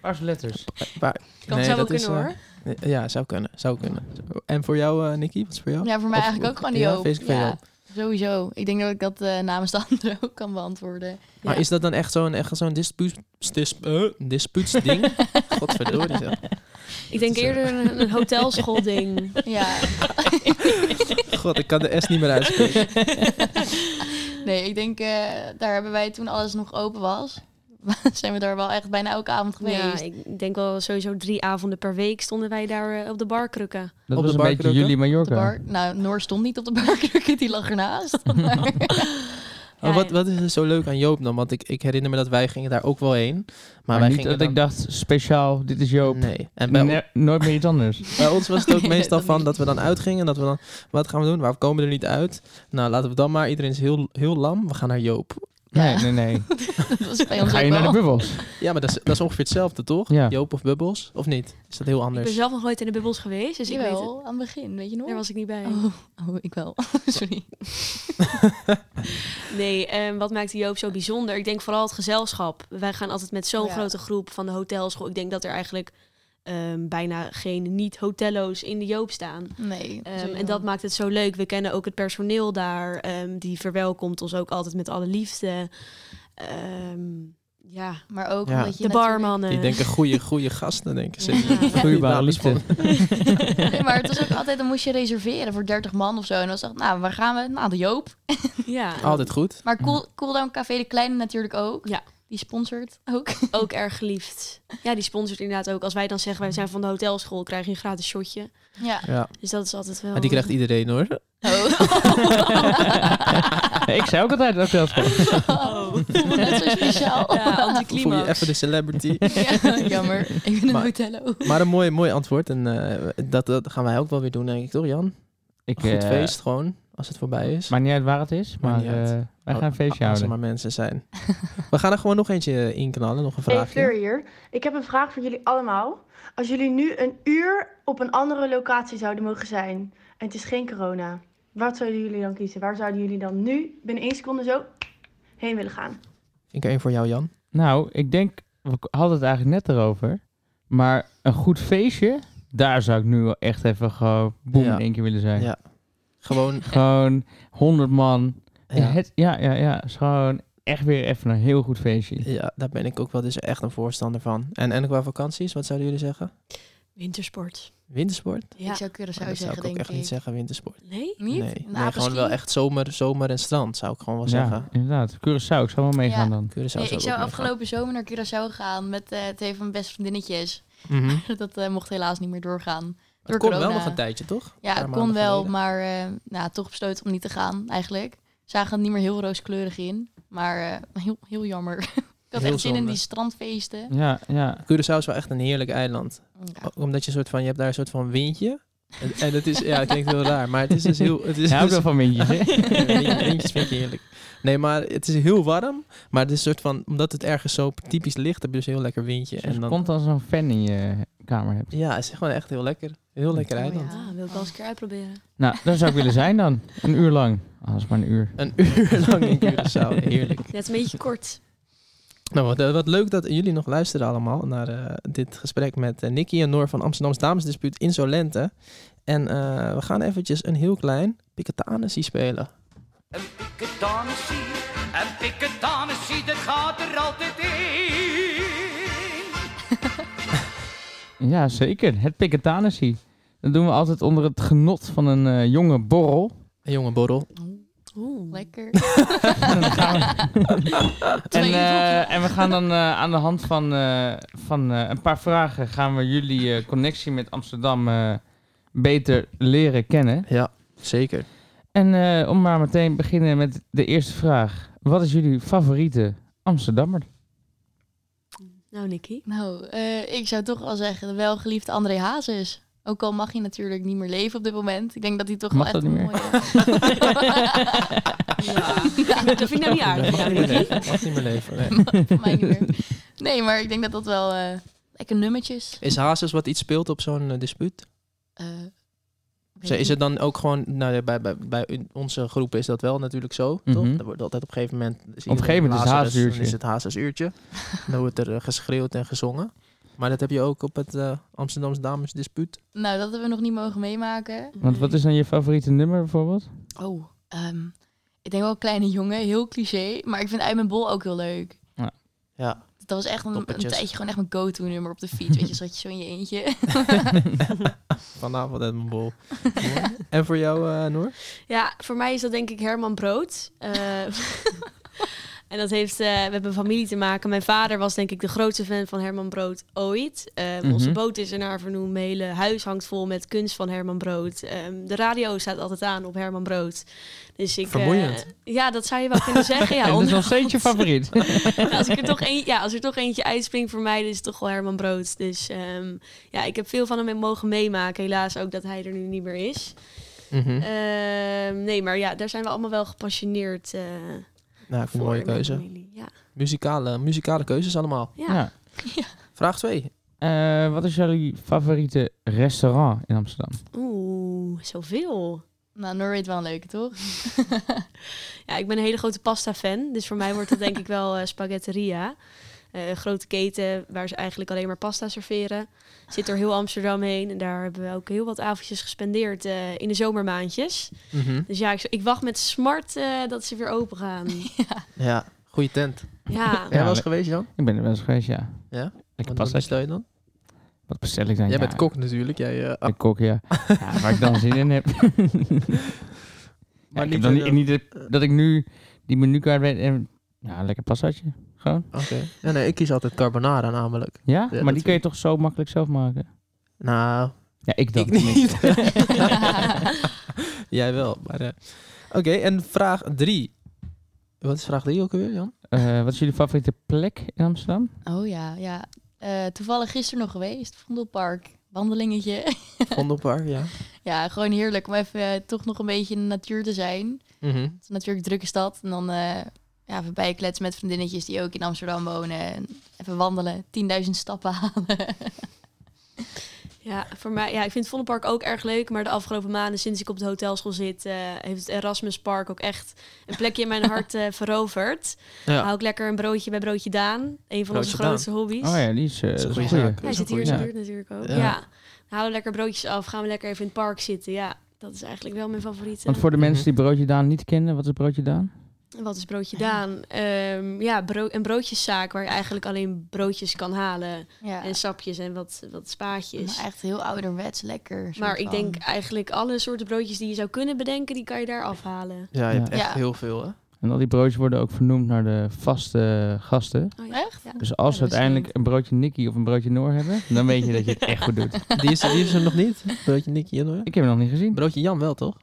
Speaker 2: Paarse letters.
Speaker 1: Maar-
Speaker 4: Dat
Speaker 1: nee,
Speaker 4: zou wel
Speaker 1: dat is,
Speaker 4: kunnen hoor.
Speaker 1: eh, ja, zou kunnen. Zou kunnen. En voor jou, eh Nicky? Wat is voor jou?
Speaker 3: Ja, voor mij
Speaker 1: Of-
Speaker 3: eigenlijk ook
Speaker 1: of-
Speaker 3: gewoon de
Speaker 1: ja,
Speaker 3: Joop.
Speaker 1: feestcafé
Speaker 3: Ja,
Speaker 1: Joop.
Speaker 3: sowieso. Ik denk dat ik dat eh, namens de anderen ook kan beantwoorden.
Speaker 1: Maar
Speaker 4: Ja.
Speaker 1: is dat dan echt zo'n echt zo'n dispuut, dis, eh, dispuutsding? Godverdorie zeg.
Speaker 4: Ik denk
Speaker 1: eh,
Speaker 4: eerder een, een hotelschool-ding.
Speaker 3: Ja.
Speaker 1: God, ik kan de S niet meer uitspreken.
Speaker 3: Nee, ik denk, eh, daar hebben wij toen alles nog open was. zijn we daar wel echt bijna elke avond geweest.
Speaker 4: Ja, ik denk wel sowieso drie avonden per week stonden wij daar eh, op de bar krukken.
Speaker 2: Dat
Speaker 1: Op
Speaker 2: was
Speaker 1: de
Speaker 2: een
Speaker 1: bar
Speaker 2: beetje
Speaker 1: drukken?
Speaker 2: jullie
Speaker 3: Op de
Speaker 2: Mallorca.
Speaker 3: bar. Nou, Noor stond niet op de barkrukken, die lag ernaast. Maar,
Speaker 1: Maar
Speaker 4: Ja,
Speaker 1: wat, wat is er zo leuk aan Joop dan? Want ik, ik herinner me dat wij gingen daar ook wel heen. Maar,
Speaker 2: Maar,
Speaker 1: wij
Speaker 2: niet
Speaker 1: gingen
Speaker 2: dat ik
Speaker 1: dan-
Speaker 2: dacht, speciaal, dit is Joop.
Speaker 1: Nee. En bij,
Speaker 2: Ne- nooit meer iets anders.
Speaker 1: bij ons was het ook
Speaker 3: Nee,
Speaker 1: meestal
Speaker 3: dat
Speaker 1: van
Speaker 3: niet.
Speaker 1: dat we dan uitgingen. En dat we dan, wat gaan we doen? Waar komen we er niet uit? Nou, laten we dan maar. Iedereen is heel, heel lam. We gaan naar Joop.
Speaker 2: Nee, nee, nee.
Speaker 3: dat was bij
Speaker 2: Dan
Speaker 3: ons
Speaker 2: ga je
Speaker 3: ook
Speaker 2: naar de
Speaker 3: wel.
Speaker 2: bubbels.
Speaker 1: Ja, maar dat is, dat is ongeveer hetzelfde, toch?
Speaker 2: Ja.
Speaker 1: Joop of Bubbles? Of niet? Is dat heel
Speaker 4: Ik
Speaker 1: anders?
Speaker 4: ben zelf nog nooit in de bubbels geweest, dus ik weet het.
Speaker 3: Jawel, aan het begin, weet je nog?
Speaker 4: Daar was ik niet bij.
Speaker 3: oh, oh, ik wel. Sorry.
Speaker 4: Nee, en wat maakt Joop zo bijzonder? Ik denk vooral het gezelschap. Wij gaan altijd met zo'n
Speaker 3: Ja.
Speaker 4: grote groep van de hotelschool. Ik denk dat er eigenlijk ehm, bijna geen niet-hotello's in de Joop staan.
Speaker 3: Nee.
Speaker 4: Ehm,
Speaker 3: sowieso.
Speaker 4: en dat maakt het zo leuk. We kennen ook het personeel daar. ehm, die verwelkomt ons ook altijd met alle liefde. Ehm, ja,
Speaker 3: Maar ook
Speaker 1: Ja.
Speaker 3: omdat je
Speaker 4: de
Speaker 3: natuurlijk-
Speaker 4: barmannen.
Speaker 1: Die denken goede, goede gasten, denken ze.
Speaker 4: Ja.
Speaker 1: Goeie
Speaker 2: Vloeibare
Speaker 1: dames
Speaker 2: liefde.
Speaker 1: van-
Speaker 3: Nee, maar het was ook altijd, dan moest je reserveren voor 30 man of zo. En dan dacht ik, nou, waar gaan we? Nou, de Joop.
Speaker 4: ja,
Speaker 1: Altijd goed.
Speaker 3: Maar cool, cool Down Café de Kleine natuurlijk ook.
Speaker 4: Ja.
Speaker 3: Die sponsort ook.
Speaker 4: ook erg geliefd. Ja, die sponsort inderdaad ook. Als wij dan zeggen, wij zijn van de hotelschool, krijg je een gratis shotje.
Speaker 3: Ja.
Speaker 1: Ja.
Speaker 4: Dus dat is altijd wel...
Speaker 1: Maar die krijgt iedereen hoor.
Speaker 3: Oh.
Speaker 2: Nee, ik zei ook altijd dat dat
Speaker 3: Oh, ik voel me net zo speciaal.
Speaker 4: Ja,
Speaker 1: Voel je
Speaker 4: anticlimax.
Speaker 1: even de celebrity.
Speaker 3: Ja, jammer. Ik ben een
Speaker 1: Maar-
Speaker 3: hotello.
Speaker 1: maar een mooi, mooi antwoord. En eh, dat, dat gaan wij ook wel weer doen, denk ik, toch Jan?
Speaker 2: Ik,
Speaker 1: Goed
Speaker 2: eh,
Speaker 1: feest gewoon, als het voorbij is.
Speaker 2: Maakt niet uit waar het is,
Speaker 1: Maakt
Speaker 2: maar
Speaker 1: niet uit. Oh,
Speaker 2: eh, wij gaan een feestje
Speaker 1: Als er
Speaker 2: houden.
Speaker 1: maar mensen zijn. We gaan er gewoon nog eentje in knallen, nog een
Speaker 6: Hey Fleur
Speaker 1: vraagje.
Speaker 6: hier. Ik heb een vraag voor jullie allemaal. Als jullie nu een uur op een andere locatie zouden mogen zijn en het is geen corona, wat zouden jullie dan kiezen? Waar zouden jullie dan nu binnen één seconde zo heen willen gaan?
Speaker 1: Ik er één voor jou, Jan.
Speaker 2: Nou, ik denk, we k- hadden het eigenlijk net erover. Maar een goed feestje, daar zou ik nu wel echt even gewoon boem
Speaker 1: Ja.
Speaker 2: in één keer willen zijn.
Speaker 1: Ja. Gewoon,
Speaker 2: Gewoon 100 man. Ja.
Speaker 1: ja,
Speaker 2: Het, ja, ja, ja. Het is gewoon echt weer even een heel goed feestje.
Speaker 1: ja, daar ben ik ook wel dus echt een voorstander van. En, en qua vakanties, wat zouden jullie zeggen?
Speaker 4: Wintersport.
Speaker 1: Wintersport? Maar
Speaker 4: Ja.
Speaker 3: Ik zou Curaçao
Speaker 1: dat zou
Speaker 3: zeggen,
Speaker 1: ik ook
Speaker 3: denk
Speaker 1: echt
Speaker 3: ik.
Speaker 1: niet zeggen, wintersport.
Speaker 4: Nee?
Speaker 3: Niet? Nou,
Speaker 1: Nee,
Speaker 3: Een
Speaker 1: nee gewoon
Speaker 3: apenski?
Speaker 1: wel echt zomer, zomer en strand, zou ik gewoon wel
Speaker 2: ja,
Speaker 1: zeggen.
Speaker 2: inderdaad. Curaçao, ik zal wel meegaan
Speaker 3: Ja.
Speaker 2: dan.
Speaker 1: Curaçao
Speaker 3: Nee,
Speaker 1: zou
Speaker 3: ik
Speaker 1: ik ook
Speaker 3: zou
Speaker 1: meegaan.
Speaker 3: afgelopen zomer naar Curaçao gaan met eh twee van mijn beste vriendinnetjes.
Speaker 1: Mhm.
Speaker 3: Dat eh, mocht helaas niet meer doorgaan.
Speaker 1: Het
Speaker 3: Door
Speaker 1: kon
Speaker 3: corona.
Speaker 1: wel nog een tijdje, toch?
Speaker 3: Ja,
Speaker 1: Een
Speaker 3: het
Speaker 1: paar
Speaker 3: kon
Speaker 1: maanden
Speaker 3: wel,
Speaker 1: geleden.
Speaker 3: maar eh, nou, toch besloten om niet te gaan eigenlijk. Zagen het niet meer heel rooskleurig in, maar eh, heel, heel jammer. ik had
Speaker 1: Heel
Speaker 3: echt zin in
Speaker 1: zonde.
Speaker 3: die strandfeesten.
Speaker 2: Ja, ja.
Speaker 1: Curaçao is wel echt een heerlijk eiland.
Speaker 3: Ja.
Speaker 1: O- Omdat je, soort van, je hebt daar een soort van windje. Oh, En, en het is, ja, het klinkt heel raar, maar het is dus heel... Het is
Speaker 2: Hij houdt
Speaker 1: dus-
Speaker 2: wel van windjes, hè?
Speaker 1: Wind- Windjes vind ik heerlijk. Nee, maar het is heel warm. Maar het is een soort van, omdat het ergens zo typisch ligt, heb je dus een heel lekker windje.
Speaker 2: Dus
Speaker 1: En dan,
Speaker 2: komt als zo'n fan in je kamer hebt.
Speaker 1: ja, het is gewoon echt heel lekker. Heel lekker
Speaker 3: Oh,
Speaker 1: eiland.
Speaker 3: Ja.
Speaker 4: Ja, Ah, wil ik wel eens een keer uitproberen.
Speaker 2: Nou, daar zou ik willen zijn dan. Een uur lang. Alles maar een uur.
Speaker 1: Een uur lang in Curaçao. Heerlijk.
Speaker 4: Net een beetje kort.
Speaker 1: Nou, wat, eh, wat leuk dat jullie nog luisteren allemaal naar eh, dit gesprek met eh, Nicky en Noor van Amsterdams Damesdispuut Insolente. En eh, we gaan eventjes een heel klein piketanessie spelen.
Speaker 7: Een piketanissie, een piketanissie, dat gaat er altijd in.
Speaker 2: Ja, zeker. Het piketanissie. Dat doen we altijd onder het genot van een eh, jonge borrel.
Speaker 1: Een jonge borrel.
Speaker 4: Oeh.
Speaker 3: Lekker.
Speaker 2: En, dan gaan we- en,
Speaker 3: Twee
Speaker 2: eh, en we gaan dan eh, aan de hand van, eh, van eh, een paar vragen... gaan we jullie eh, connectie met Amsterdam eh, beter leren kennen.
Speaker 1: Ja, zeker.
Speaker 2: En eh, om maar meteen te beginnen met de eerste vraag. Wat is jullie favoriete Amsterdammer?
Speaker 4: Nou, Nicky.
Speaker 3: Nou, eh, ik zou toch wel zeggen, de welgeliefde André Hazes. Ook al mag hij natuurlijk niet meer leven op dit moment. Ik denk dat hij toch
Speaker 2: Mag
Speaker 3: wel echt
Speaker 2: dat
Speaker 3: een
Speaker 2: niet
Speaker 3: mooie...
Speaker 4: Dat vind ik nou niet aardig.
Speaker 1: Mag
Speaker 4: Ja,
Speaker 1: niet meer
Speaker 4: Nicky.
Speaker 1: leven. Mag niet meer leven. nee.
Speaker 3: Voor mij niet meer. Nee, maar ik denk dat dat wel... eh, gekke nummertjes.
Speaker 1: Is Hazes wat iets speelt op zo'n eh, dispuut?
Speaker 3: Eh, weet
Speaker 1: Zo, Is
Speaker 3: ik niet.
Speaker 1: het dan ook gewoon, nou, ja, bij, bij, bij in onze groepen is dat wel natuurlijk zo,
Speaker 2: Mhm.
Speaker 1: toch? Dan wordt altijd op een gegeven moment... zie je
Speaker 2: Op een gegeven moment is het
Speaker 1: Lazarus,
Speaker 2: Hazesuurtje.
Speaker 1: Dan is het Hazesuurtje. dan wordt er eh, geschreeuwd en gezongen. Maar dat heb je ook op het eh Amsterdamse damesdispuut.
Speaker 3: Nou, dat hebben we nog niet mogen meemaken.
Speaker 2: Want wat is dan je favoriete nummer bijvoorbeeld?
Speaker 3: Oh, ehm, ik denk wel Kleine Jongen. Heel cliché. Maar ik vind Uit mijn Bol ook heel leuk.
Speaker 1: Ja.
Speaker 3: Dat was echt een, een
Speaker 1: Poppetjes.
Speaker 3: tijdje gewoon echt mijn go-to nummer op de fiets. Weet je, zat je zo in je eentje.
Speaker 1: Vanavond uit mijn bol. Mooi. en voor jou, eh Noor?
Speaker 4: Ja, voor mij is dat denk ik Herman Brood. Eh, en dat heeft eh, met mijn familie te maken. Mijn vader was denk ik de grootste fan van Herman Brood ooit. Eh, Onze
Speaker 2: Mhm.
Speaker 4: boot is ernaar vernoemd. Mijn hele huis hangt vol met kunst van Herman Brood. Ehm, de radio staat altijd aan op Herman Brood. Dus ik, eh,
Speaker 1: Vermoeiend.
Speaker 4: ja, dat zou je wel kunnen zeggen. Ja,
Speaker 2: en dat is nog
Speaker 4: onderhand.
Speaker 2: steeds je favoriet.
Speaker 4: Ja, als, ik er toch een, ja, als er toch eentje uitspringt voor mij, dan is het toch wel Herman Brood. Dus ehm, ja, ik heb veel van hem mogen meemaken. Helaas ook dat hij er nu niet meer is.
Speaker 1: Mhm.
Speaker 4: Ehm, nee, maar ja, daar zijn we allemaal wel gepassioneerd eh
Speaker 1: nou, ik vind het
Speaker 4: voor.
Speaker 1: een mooie
Speaker 4: in mijn
Speaker 1: keuze.
Speaker 4: familie. Ja.
Speaker 1: Muzikale, muzikale keuzes allemaal.
Speaker 4: Ja.
Speaker 2: Ja.
Speaker 1: Vraag 2.
Speaker 2: Eh, wat is jullie favoriete restaurant in Amsterdam?
Speaker 4: Oeh, zoveel.
Speaker 3: nou, Noor weet wel een leuke, toch?
Speaker 4: Ja, ik ben een hele grote pasta-fan. Dus voor mij wordt dat denk ik wel eh, spaghetteria. Eh, een grote keten waar ze eigenlijk alleen maar pasta serveren. Zit door heel Amsterdam heen. En daar hebben we ook heel wat avondjes gespendeerd eh, in de zomermaandjes.
Speaker 2: Mhm.
Speaker 4: Dus ja, ik, ik wacht met smart eh, dat ze weer open gaan.
Speaker 1: Ja, goede tent.
Speaker 4: Ja.
Speaker 1: Jij
Speaker 2: Ja,
Speaker 1: was
Speaker 2: le-
Speaker 1: geweest, Jan?
Speaker 2: Ik ben er wel eens geweest, ja.
Speaker 1: Ja?
Speaker 2: Lekker
Speaker 1: Wat- Wat
Speaker 2: pasta.
Speaker 1: bestel je dan?
Speaker 2: Wat bestel ik dan?
Speaker 1: Jij
Speaker 2: Ja,
Speaker 1: bent kok natuurlijk. Jij, eh,
Speaker 2: ik ben kok, ja. ja. Waar ik dan zin in heb. maar
Speaker 1: Maar
Speaker 2: ik
Speaker 1: niet eh,
Speaker 2: heb dan
Speaker 1: in
Speaker 2: niet, niet dat- dat ik nu die menukaart weet en... Ja, lekker pastaatje. Gewoon.
Speaker 1: Oké. Ja, nee, ik kies altijd carbonara namelijk.
Speaker 2: Ja?
Speaker 1: dat
Speaker 2: maar die
Speaker 1: vind
Speaker 2: kun je
Speaker 1: ik-
Speaker 2: toch zo makkelijk zelf maken?
Speaker 1: Nou,
Speaker 2: Ja, ik dan.
Speaker 1: ik
Speaker 2: tenminste.
Speaker 1: niet. Jij wel, maar... eh, Oké, en vraag drie. Wat is vraag drie ook alweer, Jan?
Speaker 2: Eh, wat is jullie favoriete plek in Amsterdam?
Speaker 3: Oh ja, ja. Eh, toevallig gisteren nog geweest. Vondelpark. Wandelingetje.
Speaker 1: Vondelpark, ja.
Speaker 3: ja, gewoon heerlijk om even eh, toch nog een beetje in de natuur te zijn.
Speaker 1: Mhm.
Speaker 3: Het is natuurlijk een drukke stad. En dan eh ja, voorbij kletsen met vriendinnetjes die ook in Amsterdam wonen. En even wandelen. 10.000 stappen halen.
Speaker 4: Ja, voor mij, ja, ik vind Vondelpark ook erg leuk. Maar de afgelopen maanden, sinds ik op de hotelschool zit, eh, heeft het Erasmus Park ook echt een plekje in mijn hart eh, veroverd.
Speaker 1: Ja.
Speaker 4: Hou ik lekker een broodje bij Broodje Daan. Een van
Speaker 1: Broodje
Speaker 4: onze
Speaker 1: Daan.
Speaker 4: grootste hobby's.
Speaker 2: Oh ja, die is, eh,
Speaker 1: is een
Speaker 2: dat is
Speaker 1: goeie
Speaker 2: een goeie.
Speaker 1: zaak.
Speaker 4: Hij
Speaker 1: is
Speaker 4: zit
Speaker 1: een
Speaker 4: hier in
Speaker 2: goeie.
Speaker 4: de buurt natuurlijk ook.
Speaker 1: Ja.
Speaker 4: Ja. Hou lekker broodjes af. Gaan we lekker even in het park zitten. Ja, dat is eigenlijk wel mijn favoriete.
Speaker 2: Want voor de
Speaker 1: Mhm.
Speaker 2: mensen die Broodje Daan niet kennen, wat is Broodje Daan?
Speaker 4: Wat is Broodje Daan? Ehm, ja, bro een broodjeszaak waar je eigenlijk alleen broodjes kan halen.
Speaker 3: Ja,
Speaker 4: En sapjes en wat, wat spaatjes.
Speaker 3: maar Dus echt heel ouderwets lekker. soort
Speaker 4: Maar ik
Speaker 3: van.
Speaker 4: denk eigenlijk alle soorten broodjes die je zou kunnen bedenken, die kan je daar afhalen.
Speaker 1: Ja, je hebt
Speaker 2: Ja.
Speaker 1: echt
Speaker 3: Ja.
Speaker 1: heel veel, hè?
Speaker 2: En al die broodjes worden ook vernoemd naar de vaste gasten.
Speaker 4: Oh,
Speaker 3: Echt?
Speaker 4: Ja.
Speaker 2: Dus als we
Speaker 4: dat is
Speaker 2: uiteindelijk een broodje Nicky of een broodje Noor hebben, dan weet je dat je het echt goed doet.
Speaker 1: Die is, die is er nog niet. Broodje Nicky, Jan hoor.
Speaker 2: Ik heb hem nog niet gezien.
Speaker 1: Broodje Jan wel, toch?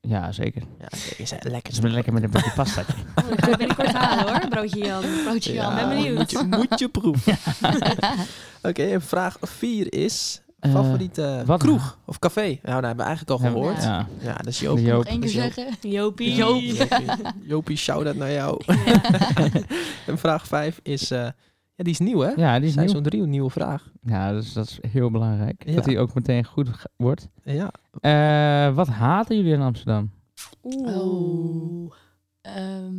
Speaker 2: Ja, zeker.
Speaker 1: Ja, is lekker.
Speaker 2: Het is wel lekker met een broodje pasta.
Speaker 4: Oh, dat ga ik binnenkort halen hoor, broodje Jan.
Speaker 3: Broodje
Speaker 4: Ja,
Speaker 3: Jan.
Speaker 4: ben benieuwd.
Speaker 1: Moet je, moet je proeven. Oké, en vraag 4 is... Favoriete
Speaker 2: Eh, wat-
Speaker 1: kroeg of café? Nou, dat hebben we eigenlijk al
Speaker 2: Ja,
Speaker 1: gehoord. Eh, nou? Ja,
Speaker 2: Ja.
Speaker 1: dat is Joop.
Speaker 2: Joop.
Speaker 3: Nog één keer
Speaker 1: Dat is Joop.
Speaker 3: zeggen.
Speaker 4: Jopie.
Speaker 1: Jopie, Jopie, shout-out naar jou. en vraag 5 is... eh, ja, die is nieuw, hè?
Speaker 2: ja, die is nieuw.
Speaker 1: Seizoen 3, een nieuwe vraag.
Speaker 2: Ja, dus dat is heel belangrijk.
Speaker 1: Ja.
Speaker 2: Dat hij ook meteen goed ge- wordt.
Speaker 1: Ja.
Speaker 2: Eh, wat haten jullie in Amsterdam?
Speaker 4: Oeh.
Speaker 3: Ehm,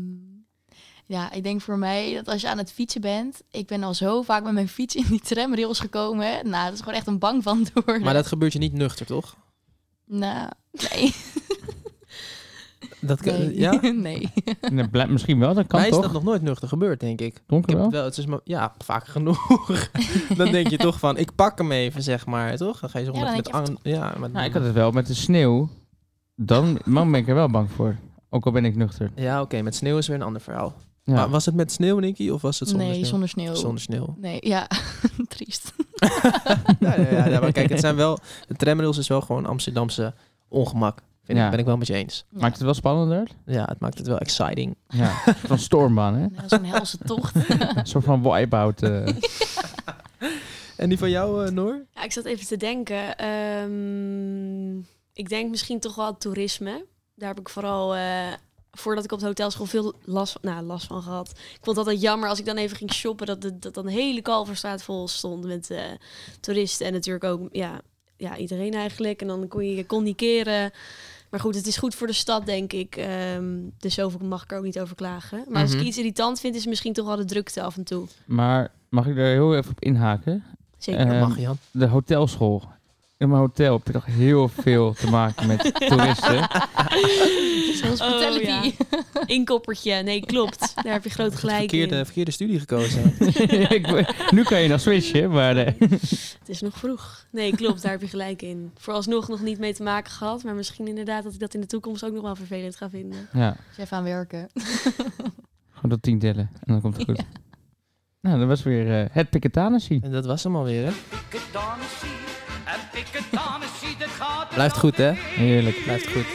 Speaker 3: ja, ik denk voor mij dat als je aan het fietsen bent... Ik ben al zo vaak met mijn fiets in die tramrails gekomen. Nou, dat is gewoon echt een bang van door.
Speaker 1: Maar dat gebeurt je niet nuchter, toch?
Speaker 3: Nou, nee.
Speaker 1: Dat, kan-
Speaker 3: nee.
Speaker 1: Ja?
Speaker 3: nee.
Speaker 2: Nee, blijk- misschien wel, dat kan
Speaker 1: Mij is
Speaker 2: toch?
Speaker 1: dat nog nooit nuchter gebeurd, denk ik. Ik
Speaker 2: Donker
Speaker 1: heb
Speaker 2: wel?
Speaker 1: het wel, het is maar, ja, vaak genoeg. dan denk je toch van, ik pak hem even, zeg maar, toch? Dan ga je zo
Speaker 3: Ja,
Speaker 1: met,
Speaker 3: dan
Speaker 1: met
Speaker 3: denk je,
Speaker 1: ang- ja, met,
Speaker 2: Nou, ik had het wel met de sneeuw. Dan, dan ben ik er wel bang voor. Ook al ben ik nuchter.
Speaker 1: Ja, oké, met sneeuw is weer een ander verhaal.
Speaker 2: Ja.
Speaker 1: Maar was het met sneeuw, Nicky, of was het zonder
Speaker 3: nee,
Speaker 1: sneeuw?
Speaker 3: zonder sneeuw.
Speaker 1: Zonder sneeuw.
Speaker 3: Nee, ja. Triest.
Speaker 1: ja, ja, ja, ja, maar kijk, het zijn wel, de tramrails is wel gewoon Amsterdamse ongemak. Vind
Speaker 2: Ja.
Speaker 1: ik, ben ik wel met je eens.
Speaker 3: Ja.
Speaker 2: Maakt het wel spannender?
Speaker 1: Ja, het maakt het wel exciting.
Speaker 2: Ja, van stormbaan, hè?
Speaker 3: Nee, dat is een helse tocht.
Speaker 2: Een soort van wipeout. eh.
Speaker 1: En die van jou, eh, Noor?
Speaker 4: Ja, ik zat even te denken. ehm, ik denk misschien toch wel toerisme. Daar heb ik vooral eh, voordat ik op de hotelschool veel last van, nou, last van gehad. Ik vond het altijd jammer als ik dan even ging shoppen, dat, de- dat dan de hele Kalverstraat vol stond met eh, toeristen. En natuurlijk ook, ja, ja, iedereen eigenlijk. En dan kon je, je kon niet keren. Maar goed, het is goed voor de stad, denk ik. Ehm, dus zoveel mag ik er ook niet over klagen. Maar als ik
Speaker 1: Mhm.
Speaker 4: iets irritant vind, is het misschien toch wel de drukte af en toe.
Speaker 2: Maar mag ik daar heel even op inhaken?
Speaker 4: Zeker.
Speaker 2: Eh,
Speaker 1: mag Jan.
Speaker 2: De hotelschool. In mijn hotel heb je toch heel veel te maken met toeristen.
Speaker 4: Zoals
Speaker 3: Vertel het die.
Speaker 4: Oh, Inkoppertje. Nee, klopt. Daar heb je groot gelijk in.
Speaker 1: Verkeerde, verkeerde studie gekozen.
Speaker 2: Ik ben- nu kan je nog switchen, maar eh,
Speaker 4: Het is nog vroeg. Nee, klopt, daar heb je gelijk in. Vooralsnog nog niet mee te maken gehad, maar misschien inderdaad dat ik dat in de toekomst ook nog wel vervelend ga vinden.
Speaker 2: ja,
Speaker 3: Dus even aan werken.
Speaker 2: gewoon tot tien tellen en dan komt het goed. Nou, dat was weer eh, het Piketanissie.
Speaker 1: en dat was hem alweer, hè?
Speaker 8: Piketanissie en piketanissie, dat gaat er
Speaker 1: Blijft goed, hè?
Speaker 8: altijd in.
Speaker 2: Heerlijk,
Speaker 1: blijft goed.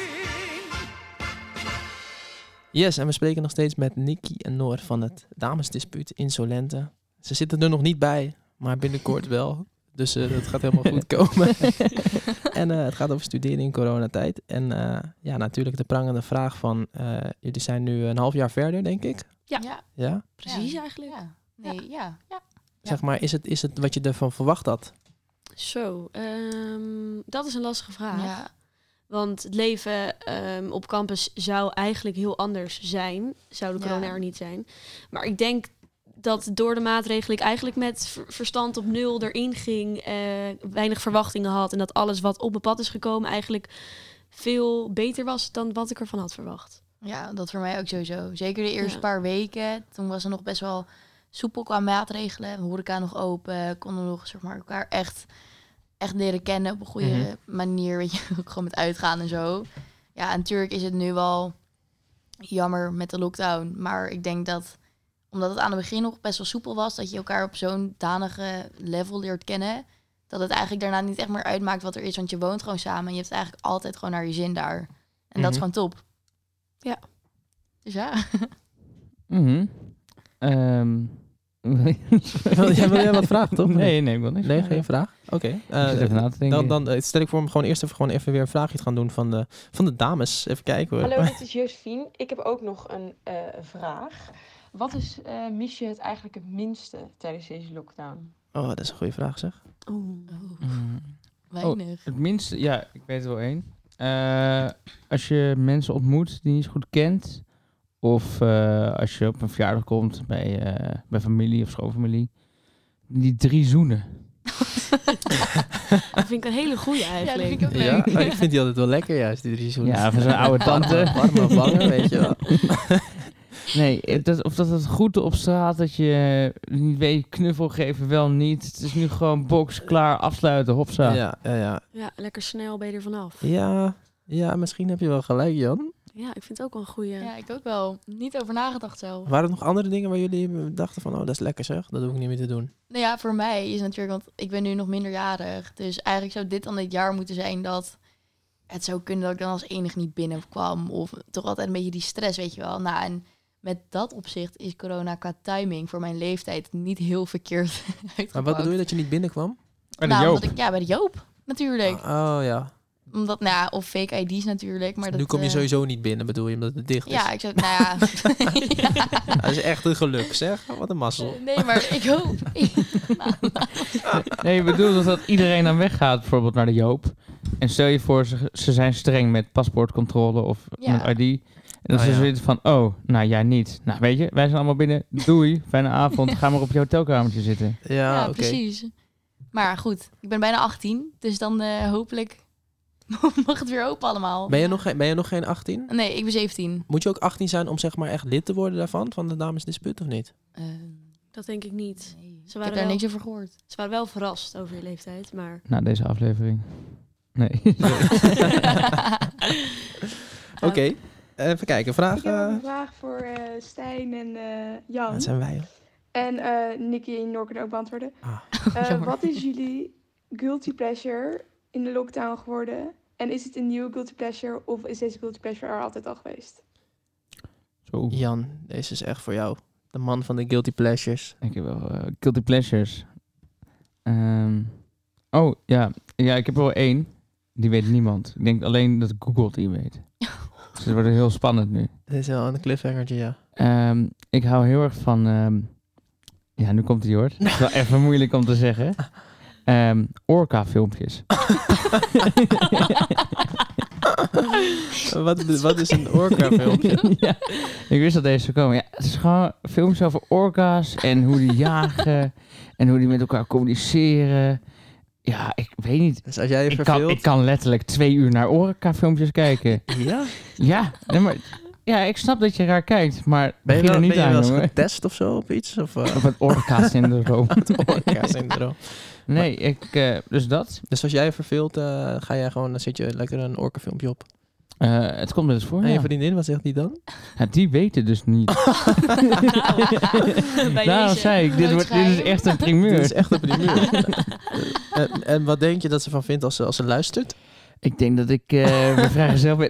Speaker 1: Yes, en we spreken nog steeds met Nikki en Noor van het damesdispuut Insolente. Ze zitten er nog niet bij, maar binnenkort wel. Dus eh, dat gaat helemaal goed komen. en eh, het gaat over studeren in coronatijd. En eh, ja, natuurlijk de prangende vraag van... eh, jullie zijn nu een half jaar verder, denk ik.
Speaker 4: Ja.
Speaker 1: Ja?
Speaker 4: Precies
Speaker 3: Ja.
Speaker 4: eigenlijk.
Speaker 3: Ja. Nee, ja. ja.
Speaker 1: Zeg maar, is het, is het wat je ervan verwacht had?
Speaker 4: Zo, ehm, dat is een lastige vraag.
Speaker 3: Ja.
Speaker 4: Want het leven ehm, op campus zou eigenlijk heel anders zijn, zou de
Speaker 3: Ja.
Speaker 4: corona er niet zijn. Maar ik denk dat door de maatregelen ik eigenlijk met ver- verstand op nul erin ging, eh, weinig verwachtingen had en dat alles wat op mijn pad is gekomen eigenlijk veel beter was dan wat ik ervan had verwacht.
Speaker 3: Ja, dat voor mij ook sowieso. Zeker de eerste
Speaker 4: Ja.
Speaker 3: paar weken. Toen was er nog best wel soepel qua maatregelen. De horeca nog open. Konden we nog zeg maar, elkaar echt, echt leren kennen op een goede manier. Weet je, ook gewoon met uitgaan en zo. Ja, en natuurlijk is het nu wel jammer met de lockdown. Maar ik denk dat, omdat het aan het begin nog best wel soepel was... dat je elkaar op zo'n danige level leert kennen... dat het eigenlijk daarna niet echt meer uitmaakt wat er is. Want je woont gewoon samen en je hebt het eigenlijk altijd gewoon naar je zin daar. En dat is
Speaker 1: Mhm.
Speaker 3: gewoon top.
Speaker 4: Ja.
Speaker 3: Dus ja.
Speaker 2: Mhm. Ehm,
Speaker 1: wil, jij, wil jij wat vragen, toch?
Speaker 2: Nee, nee, ik wil niks.
Speaker 1: Nee,
Speaker 2: vragen.
Speaker 1: geen vraag? Oké.
Speaker 2: Ik zit
Speaker 1: eh,
Speaker 2: even na te denken.
Speaker 1: dan, dan eh, stel ik voor om gewoon eerst even, gewoon even weer een vraagje te gaan doen van de, van de dames. Even kijken hoor.
Speaker 9: Hallo, dit is Josephine. Ik heb ook nog een eh, vraag. Wat is, eh mis je het eigenlijk het minste tijdens deze lockdown?
Speaker 1: Oh, dat is een goede vraag zeg.
Speaker 2: Mhm.
Speaker 3: Weinig.
Speaker 2: Het minste, ja, ik weet er wel één. Eh, als je mensen ontmoet die je niet zo goed kent, of eh, als je op een verjaardag komt bij, eh, bij familie of schoonfamilie, die drie zoenen.
Speaker 4: Dat vind ik een hele goede eigenlijk.
Speaker 3: vind ik ook
Speaker 1: Ja,
Speaker 3: leuk.
Speaker 1: Oh, ik vind die altijd wel lekker juist, die drie zoenen.
Speaker 2: Ja, van zo'n oude tante.
Speaker 1: Warme wangen, weet je wel.
Speaker 2: Nee, eh, dat, of dat het goed op straat, dat je eh, niet weet, knuffel geven wel niet. Het is nu gewoon box, klaar, afsluiten, hopsa.
Speaker 1: Ja, ja, ja.
Speaker 4: Ja, lekker snel ben je er vanaf. Ja.
Speaker 1: Ja, ja, misschien heb je wel gelijk Jan.
Speaker 4: ik vind het ook wel een goede.
Speaker 3: Ja, ik ook wel. Niet over nagedacht zelf.
Speaker 1: Waren er nog andere dingen waar jullie dachten van, oh dat is lekker zeg, dat hoef ik niet meer te doen.
Speaker 3: Nou ja, voor mij is natuurlijk, want ik ben nu nog minderjarig. Dus eigenlijk zou dit dan dit jaar moeten zijn dat het zou kunnen dat ik dan als enig niet binnenkwam. Of toch altijd een beetje die stress, weet je wel. Nou, en met dat opzicht is corona qua timing voor mijn leeftijd niet heel verkeerd uitgepakt.
Speaker 1: Maar wat bedoel je dat je niet binnenkwam?
Speaker 2: Bij de
Speaker 3: nou,
Speaker 2: Joop.
Speaker 3: omdat ik, ja, bij de Joop, natuurlijk.
Speaker 1: Oh ja,
Speaker 3: Omdat, nou ja, of fake ID's natuurlijk. Maar dat,
Speaker 1: Dus nu kom je
Speaker 3: eh,
Speaker 1: sowieso niet binnen bedoel je, omdat het dicht is.
Speaker 3: Ja, ik zou, nou ja.
Speaker 1: Ja, Dat is echt een geluk zeg, Oh, wat een mazzel.
Speaker 3: Nee, maar ik hoop.
Speaker 2: Nee, ik bedoel dat, dat iedereen dan weggaat, bijvoorbeeld naar de Joop. En stel je voor, ze, ze zijn streng met paspoortcontrole of
Speaker 3: Ja.
Speaker 2: met ID. En dan
Speaker 1: Oh,
Speaker 2: ze
Speaker 1: ja.
Speaker 2: zoiets van, oh, nou jij niet. Nou weet je, wij zijn allemaal binnen. Doei, fijne avond. Ga maar op je hotelkamertje zitten.
Speaker 1: Ja,
Speaker 3: Ja,
Speaker 1: oké.
Speaker 3: precies. Maar goed, ik ben bijna 18, dus dan eh, hopelijk mag het weer open allemaal.
Speaker 1: Ben je, nog geen, ben je nog geen 18?
Speaker 3: Nee, ik ben 17.
Speaker 1: Moet je ook 18 zijn om zeg maar echt lid te worden daarvan, van de damesdispuut of niet?
Speaker 3: Eh,
Speaker 4: Dat denk ik niet.
Speaker 3: nee. Ik
Speaker 4: Ze
Speaker 3: heb
Speaker 4: waren,
Speaker 3: daar
Speaker 4: wel,
Speaker 3: niks over gehoord.
Speaker 4: ze waren wel verrast over je leeftijd, maar
Speaker 2: Na Nou, deze aflevering. Nee.
Speaker 1: Oké, even kijken, vraag.
Speaker 5: Ik heb ook
Speaker 1: eh,
Speaker 5: een vraag voor eh, Stijn en eh, Jan.
Speaker 1: dat zijn wij. hoor.
Speaker 5: En eh Nicky en Noor kunnen ook beantwoorden.
Speaker 1: Ah.
Speaker 5: Eh,
Speaker 3: Jammer.
Speaker 5: wat is jullie guilty pleasure in de lockdown geworden? En is het een nieuwe guilty pleasure of is deze guilty pleasure er altijd al geweest?
Speaker 2: Zo,
Speaker 1: Jan, deze is echt voor jou. De man van de guilty pleasures.
Speaker 2: ik heb wel eh, guilty pleasures. Ehm, oh, ja. Ja, ik heb er wel één. Die weet niemand. Ik denk alleen dat Google die weet. Dus Dus het wordt heel spannend nu.
Speaker 1: Dit is wel een cliffhangertje, ja.
Speaker 2: Ehm, ik hou heel erg van. ehm, ja, nu komt die hoor. Het is wel even moeilijk om te zeggen. Ehm Orca-filmpjes.
Speaker 1: wat, wat is een orca-filmpje?
Speaker 2: ja, ik wist dat deze zou komen. Ja, het is gewoon films over orka's en hoe die jagen en hoe die met elkaar communiceren. Ja, ik weet niet.
Speaker 1: Dus als jij je
Speaker 2: Ik kan, ik
Speaker 1: verveelt...
Speaker 2: kan letterlijk twee uur naar orka-filmpjes kijken.
Speaker 1: Ja?
Speaker 2: Ja, nee, maar, ja, ik snap dat je raar kijkt, maar
Speaker 1: Ben je, wel,
Speaker 2: begin er
Speaker 1: ben
Speaker 2: niet
Speaker 1: je
Speaker 2: aan,
Speaker 1: wel eens
Speaker 2: jongen.
Speaker 1: getest of zo op iets? Of eh,
Speaker 2: Op het orka-syndroom.
Speaker 1: het orca-syndroom?
Speaker 2: Nee, ik, eh, dus dat.
Speaker 1: dus als jij je verveelt, eh, ga jij gewoon, dan zet je lekker een orca-filmpje op.
Speaker 2: Eh, het komt wel eens voor,
Speaker 1: en je
Speaker 2: ja.
Speaker 1: vriendin, wat zegt Ah, die dan?
Speaker 2: Ja, die weten dus niet.
Speaker 4: Nou, Bij
Speaker 2: Daarom
Speaker 4: deze.
Speaker 2: Nou, zei ik, dit, wordt, dit is echt een primeur.
Speaker 1: Dit is echt een primeur. en, en wat denk je dat ze van vindt als ze, als ze luistert?
Speaker 2: Ik denk dat ik eh mijn vragen zelf ben.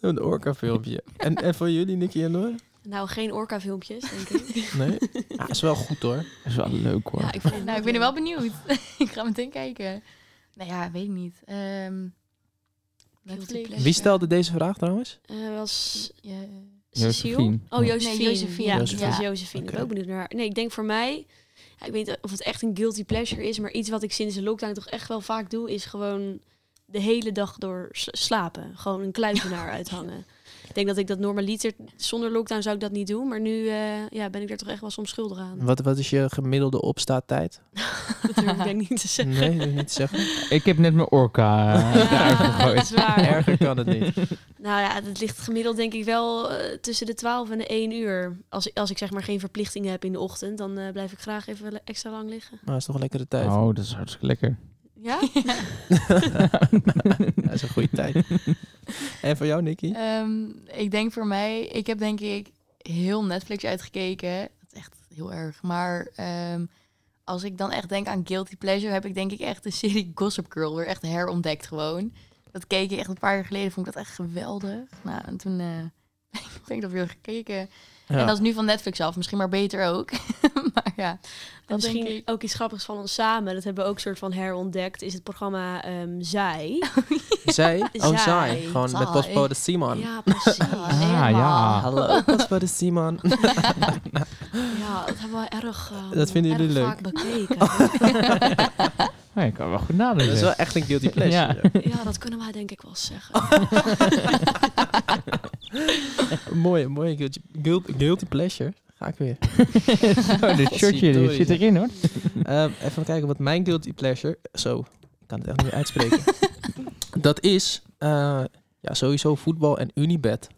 Speaker 1: Een orca-filmpje. En, en voor jullie, Nicky en Noor?
Speaker 4: Nou, geen orca-filmpjes, denk ik.
Speaker 1: Nee? Ja, is wel goed hoor.
Speaker 2: Dat is wel leuk hoor.
Speaker 4: ja, ik, vond het
Speaker 3: Nou, ik ben er wel benieuwd. ik ga meteen kijken. Nou ja, weet ik niet. Ehm
Speaker 4: Guilty pleasure.
Speaker 1: Wie stelde deze vraag trouwens?
Speaker 4: Eh, was
Speaker 3: Ja, eh,
Speaker 2: Josephine.
Speaker 4: Cecile? Oh,
Speaker 2: Nee,
Speaker 4: Josephine.
Speaker 3: Josephine.
Speaker 4: Ja,
Speaker 1: Josephine.
Speaker 4: het was Josephine. Ik
Speaker 1: Oké.
Speaker 4: ben ook benieuwd naar haar. Nee, ik denk voor mij... ja, ik weet niet of het echt een guilty pleasure is, maar iets wat ik sinds de lockdown toch echt wel vaak doe, is gewoon de hele dag door s- slapen. Gewoon een kluizenaar uithangen. Ik denk dat ik dat normaliter, zonder lockdown zou ik dat niet doen, maar nu eh, ja, ben ik er toch echt wel soms schuldig aan.
Speaker 1: Wat, wat is je gemiddelde opstaattijd?
Speaker 4: Dat durf ik denk ik niet te zeggen.
Speaker 1: Nee, dat is niet te zeggen.
Speaker 2: Ik heb net mijn orka eh, eruit
Speaker 4: Ja, dat
Speaker 2: gegooid.
Speaker 4: is waar.
Speaker 1: Erger kan het niet.
Speaker 4: Nou ja, dat ligt gemiddeld denk ik wel eh, tussen de 12 en de 1 uur. Als, als ik zeg maar geen verplichtingen heb in de ochtend, dan eh, blijf ik graag even le- extra lang liggen.
Speaker 1: Maar dat is toch een lekkere tijd.
Speaker 2: Oh, dat is hartstikke lekker.
Speaker 4: Ja?
Speaker 1: dat is een goede tijd. Oh. En voor jou, Nicky?
Speaker 3: Ehm, ik denk voor mij, ik heb denk ik heel Netflix uitgekeken. Dat is echt heel erg. Maar ehm, als ik dan echt denk aan Guilty Pleasure, heb ik denk ik echt de serie Gossip Girl weer echt herontdekt gewoon. Dat keek ik echt een paar jaar geleden, vond ik dat echt geweldig. Nou, en toen eh, ben ik dat weer gekeken.
Speaker 1: Ja.
Speaker 3: En dat is nu van Netflix af, misschien maar beter ook. maar ja,
Speaker 4: En
Speaker 3: dat denk
Speaker 4: misschien
Speaker 3: ik.
Speaker 4: ook iets grappigs van ons samen. Dat hebben we ook soort van herontdekt. Is het programma ehm, Zij.
Speaker 1: Zij? Oh,
Speaker 4: Zij.
Speaker 1: zij. Gewoon met
Speaker 3: Zij.
Speaker 1: postbode Simon.
Speaker 4: Ja, precies.
Speaker 3: Ah,
Speaker 2: Ah, ja.
Speaker 1: Hallo, postbode Simon.
Speaker 4: Ja, dat hebben we erg, ehm,
Speaker 1: Dat vinden
Speaker 4: erg
Speaker 1: jullie leuk.
Speaker 4: vaak bekeken.
Speaker 2: Oh, ik kan wel goed
Speaker 1: Dat
Speaker 2: nadenken.
Speaker 1: is wel echt een guilty pleasure. ja.
Speaker 2: Ja.
Speaker 4: Ja, dat kunnen wij denk ik wel
Speaker 1: Oh.
Speaker 4: zeggen.
Speaker 1: Mooie, mooie guilty, guilty, guilty pleasure. Ga ik weer.
Speaker 2: Zo, dit shirtje dit zit erin hoor.
Speaker 1: Ehm, even kijken wat mijn guilty pleasure... Zo, ik kan het echt niet uitspreken. dat is eh, ja, sowieso voetbal en Unibet.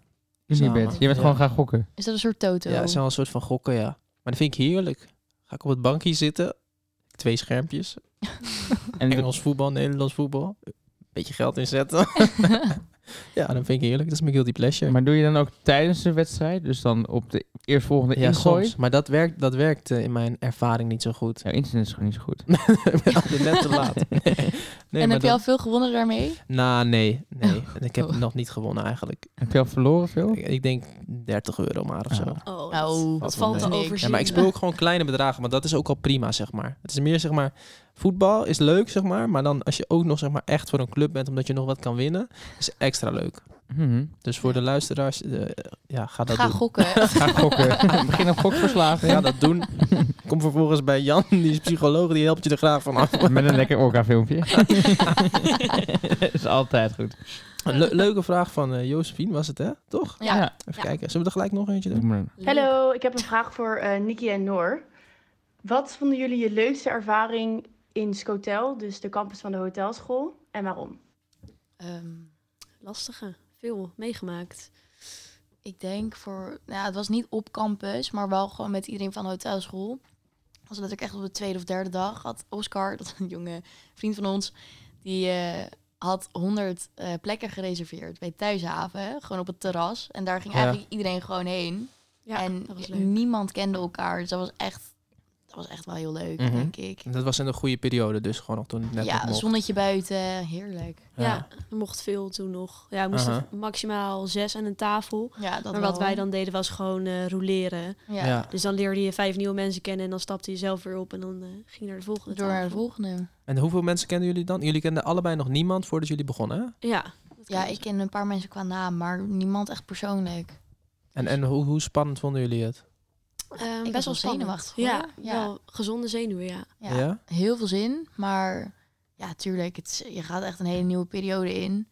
Speaker 2: Unibet. Je bent
Speaker 1: Ja.
Speaker 2: gewoon gaan gokken.
Speaker 3: Is dat een soort toto?
Speaker 1: Ja, het is wel een soort van gokken, ja. Maar dat vind ik heerlijk. Ga ik op het bankje zitten. Twee schermpjes.
Speaker 2: En
Speaker 1: Engels voetbal, Nederlands voetbal. Beetje geld inzetten. ja, dan vind ik heerlijk. Dat is mijn guilty pleasure.
Speaker 2: maar doe je dan ook tijdens de wedstrijd? Dus dan op de eerstvolgende
Speaker 1: ja,
Speaker 2: ingooi?
Speaker 1: soms. Maar dat werkt, dat werkt eh, in mijn ervaring niet zo goed.
Speaker 2: Ja, internet is gewoon niet zo goed.
Speaker 1: ik ben altijd net te laat. Nee, nee, maar
Speaker 3: en heb je
Speaker 1: dan-
Speaker 3: al veel gewonnen daarmee?
Speaker 1: Nou, nee. nee. Ik heb
Speaker 3: Oh.
Speaker 1: nog niet gewonnen eigenlijk.
Speaker 2: Heb je al verloren veel?
Speaker 1: Ik, ik denk 30 euro maar of zo.
Speaker 2: Ah.
Speaker 4: Oh, dat,
Speaker 3: Nou,
Speaker 4: dat
Speaker 1: valt
Speaker 4: valt
Speaker 1: wel
Speaker 4: te
Speaker 3: mee.
Speaker 4: overzien.
Speaker 1: Ja, maar ik speel ook gewoon kleine bedragen, maar dat is ook al prima, zeg maar. Het is meer, zeg maar, voetbal is leuk, zeg maar. Maar dan als je ook nog, zeg maar, echt voor een club bent, omdat je nog wat kan winnen, is extra leuk.
Speaker 2: Mhm.
Speaker 1: Dus voor de luisteraars, eh, ja, ga dat
Speaker 3: Ga
Speaker 1: doen.
Speaker 3: gokken.
Speaker 2: Ga gokken. Begin op gokverslagen.
Speaker 1: Ga dat doen. Kom vervolgens bij Jan, die is psycholoog, die helpt je er graag vanaf.
Speaker 2: Met een lekker orka-filmpje. is altijd goed.
Speaker 1: Een le- leuke vraag van eh Josephine was het, hè? Toch?
Speaker 3: ja.
Speaker 1: Even
Speaker 4: Ja.
Speaker 1: kijken. Zullen we er gelijk nog eentje
Speaker 2: Doe
Speaker 1: doen?
Speaker 2: maar.
Speaker 6: Hallo, ik heb een vraag voor eh Nikki en Noor. Wat vonden jullie je leukste ervaring in Scotel, dus de campus van de hotelschool, en waarom?
Speaker 3: Ehm,
Speaker 4: Lastige. Veel meegemaakt.
Speaker 3: Ik denk voor, nou, het was niet op campus, maar wel gewoon met iedereen van de hotelschool. Was dat ik echt op de tweede of derde dag had Oscar, dat is een jonge vriend van ons, die eh, had 100 eh, plekken gereserveerd bij Thuishaven, gewoon op het terras. En daar ging
Speaker 1: Ja.
Speaker 3: eigenlijk iedereen gewoon heen.
Speaker 4: Ja,
Speaker 3: en
Speaker 4: dat was leuk.
Speaker 3: niemand kende elkaar, dus dat was echt, dat was echt wel heel leuk,
Speaker 1: Mhm.
Speaker 3: denk ik.
Speaker 1: Dat was in een goede periode, dus gewoon nog toen het net nog
Speaker 3: ja,
Speaker 1: mocht.
Speaker 3: zonnetje buiten, heerlijk.
Speaker 4: Ja. er mocht veel toen nog. Ja, we moesten
Speaker 1: Aha.
Speaker 4: maximaal zes aan een tafel.
Speaker 3: Ja, dat
Speaker 4: maar wat
Speaker 3: wel.
Speaker 4: wij dan deden was gewoon eh rouleren.
Speaker 3: ja,
Speaker 1: ja.
Speaker 4: Dus dan leerde je vijf nieuwe mensen kennen en dan stapte je zelf weer op en dan eh, ging je naar de volgende
Speaker 3: door naar de
Speaker 4: tafel.
Speaker 3: volgende.
Speaker 1: En hoeveel mensen kenden jullie dan? Jullie kenden allebei nog niemand voordat jullie begonnen, hè?
Speaker 4: Ja, dat
Speaker 3: Ja, ik ken een paar mensen qua naam, maar niemand echt persoonlijk.
Speaker 1: En, en hoe, hoe spannend vonden jullie het?
Speaker 4: Ehm,
Speaker 3: was
Speaker 4: best wel
Speaker 3: wel
Speaker 4: spannend.
Speaker 3: zenuwachtig, hoor.
Speaker 4: Ja,
Speaker 3: Ja.
Speaker 4: wel gezonde zenuwen, ja.
Speaker 3: Ja, Heel veel zin, maar ja, tuurlijk, het, is- je gaat echt een hele nieuwe periode in.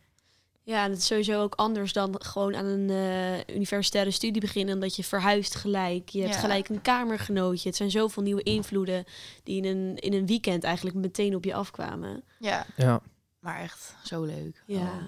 Speaker 4: Ja, en het is sowieso ook anders dan gewoon aan een eh, universitaire studie beginnen. Omdat je verhuist gelijk. Je hebt
Speaker 3: Ja.
Speaker 4: gelijk een kamergenootje. Het zijn zoveel nieuwe invloeden die in een, in een weekend eigenlijk meteen op je afkwamen.
Speaker 3: Ja,
Speaker 1: ja.
Speaker 3: maar echt zo leuk.
Speaker 4: Ja,
Speaker 3: Oh.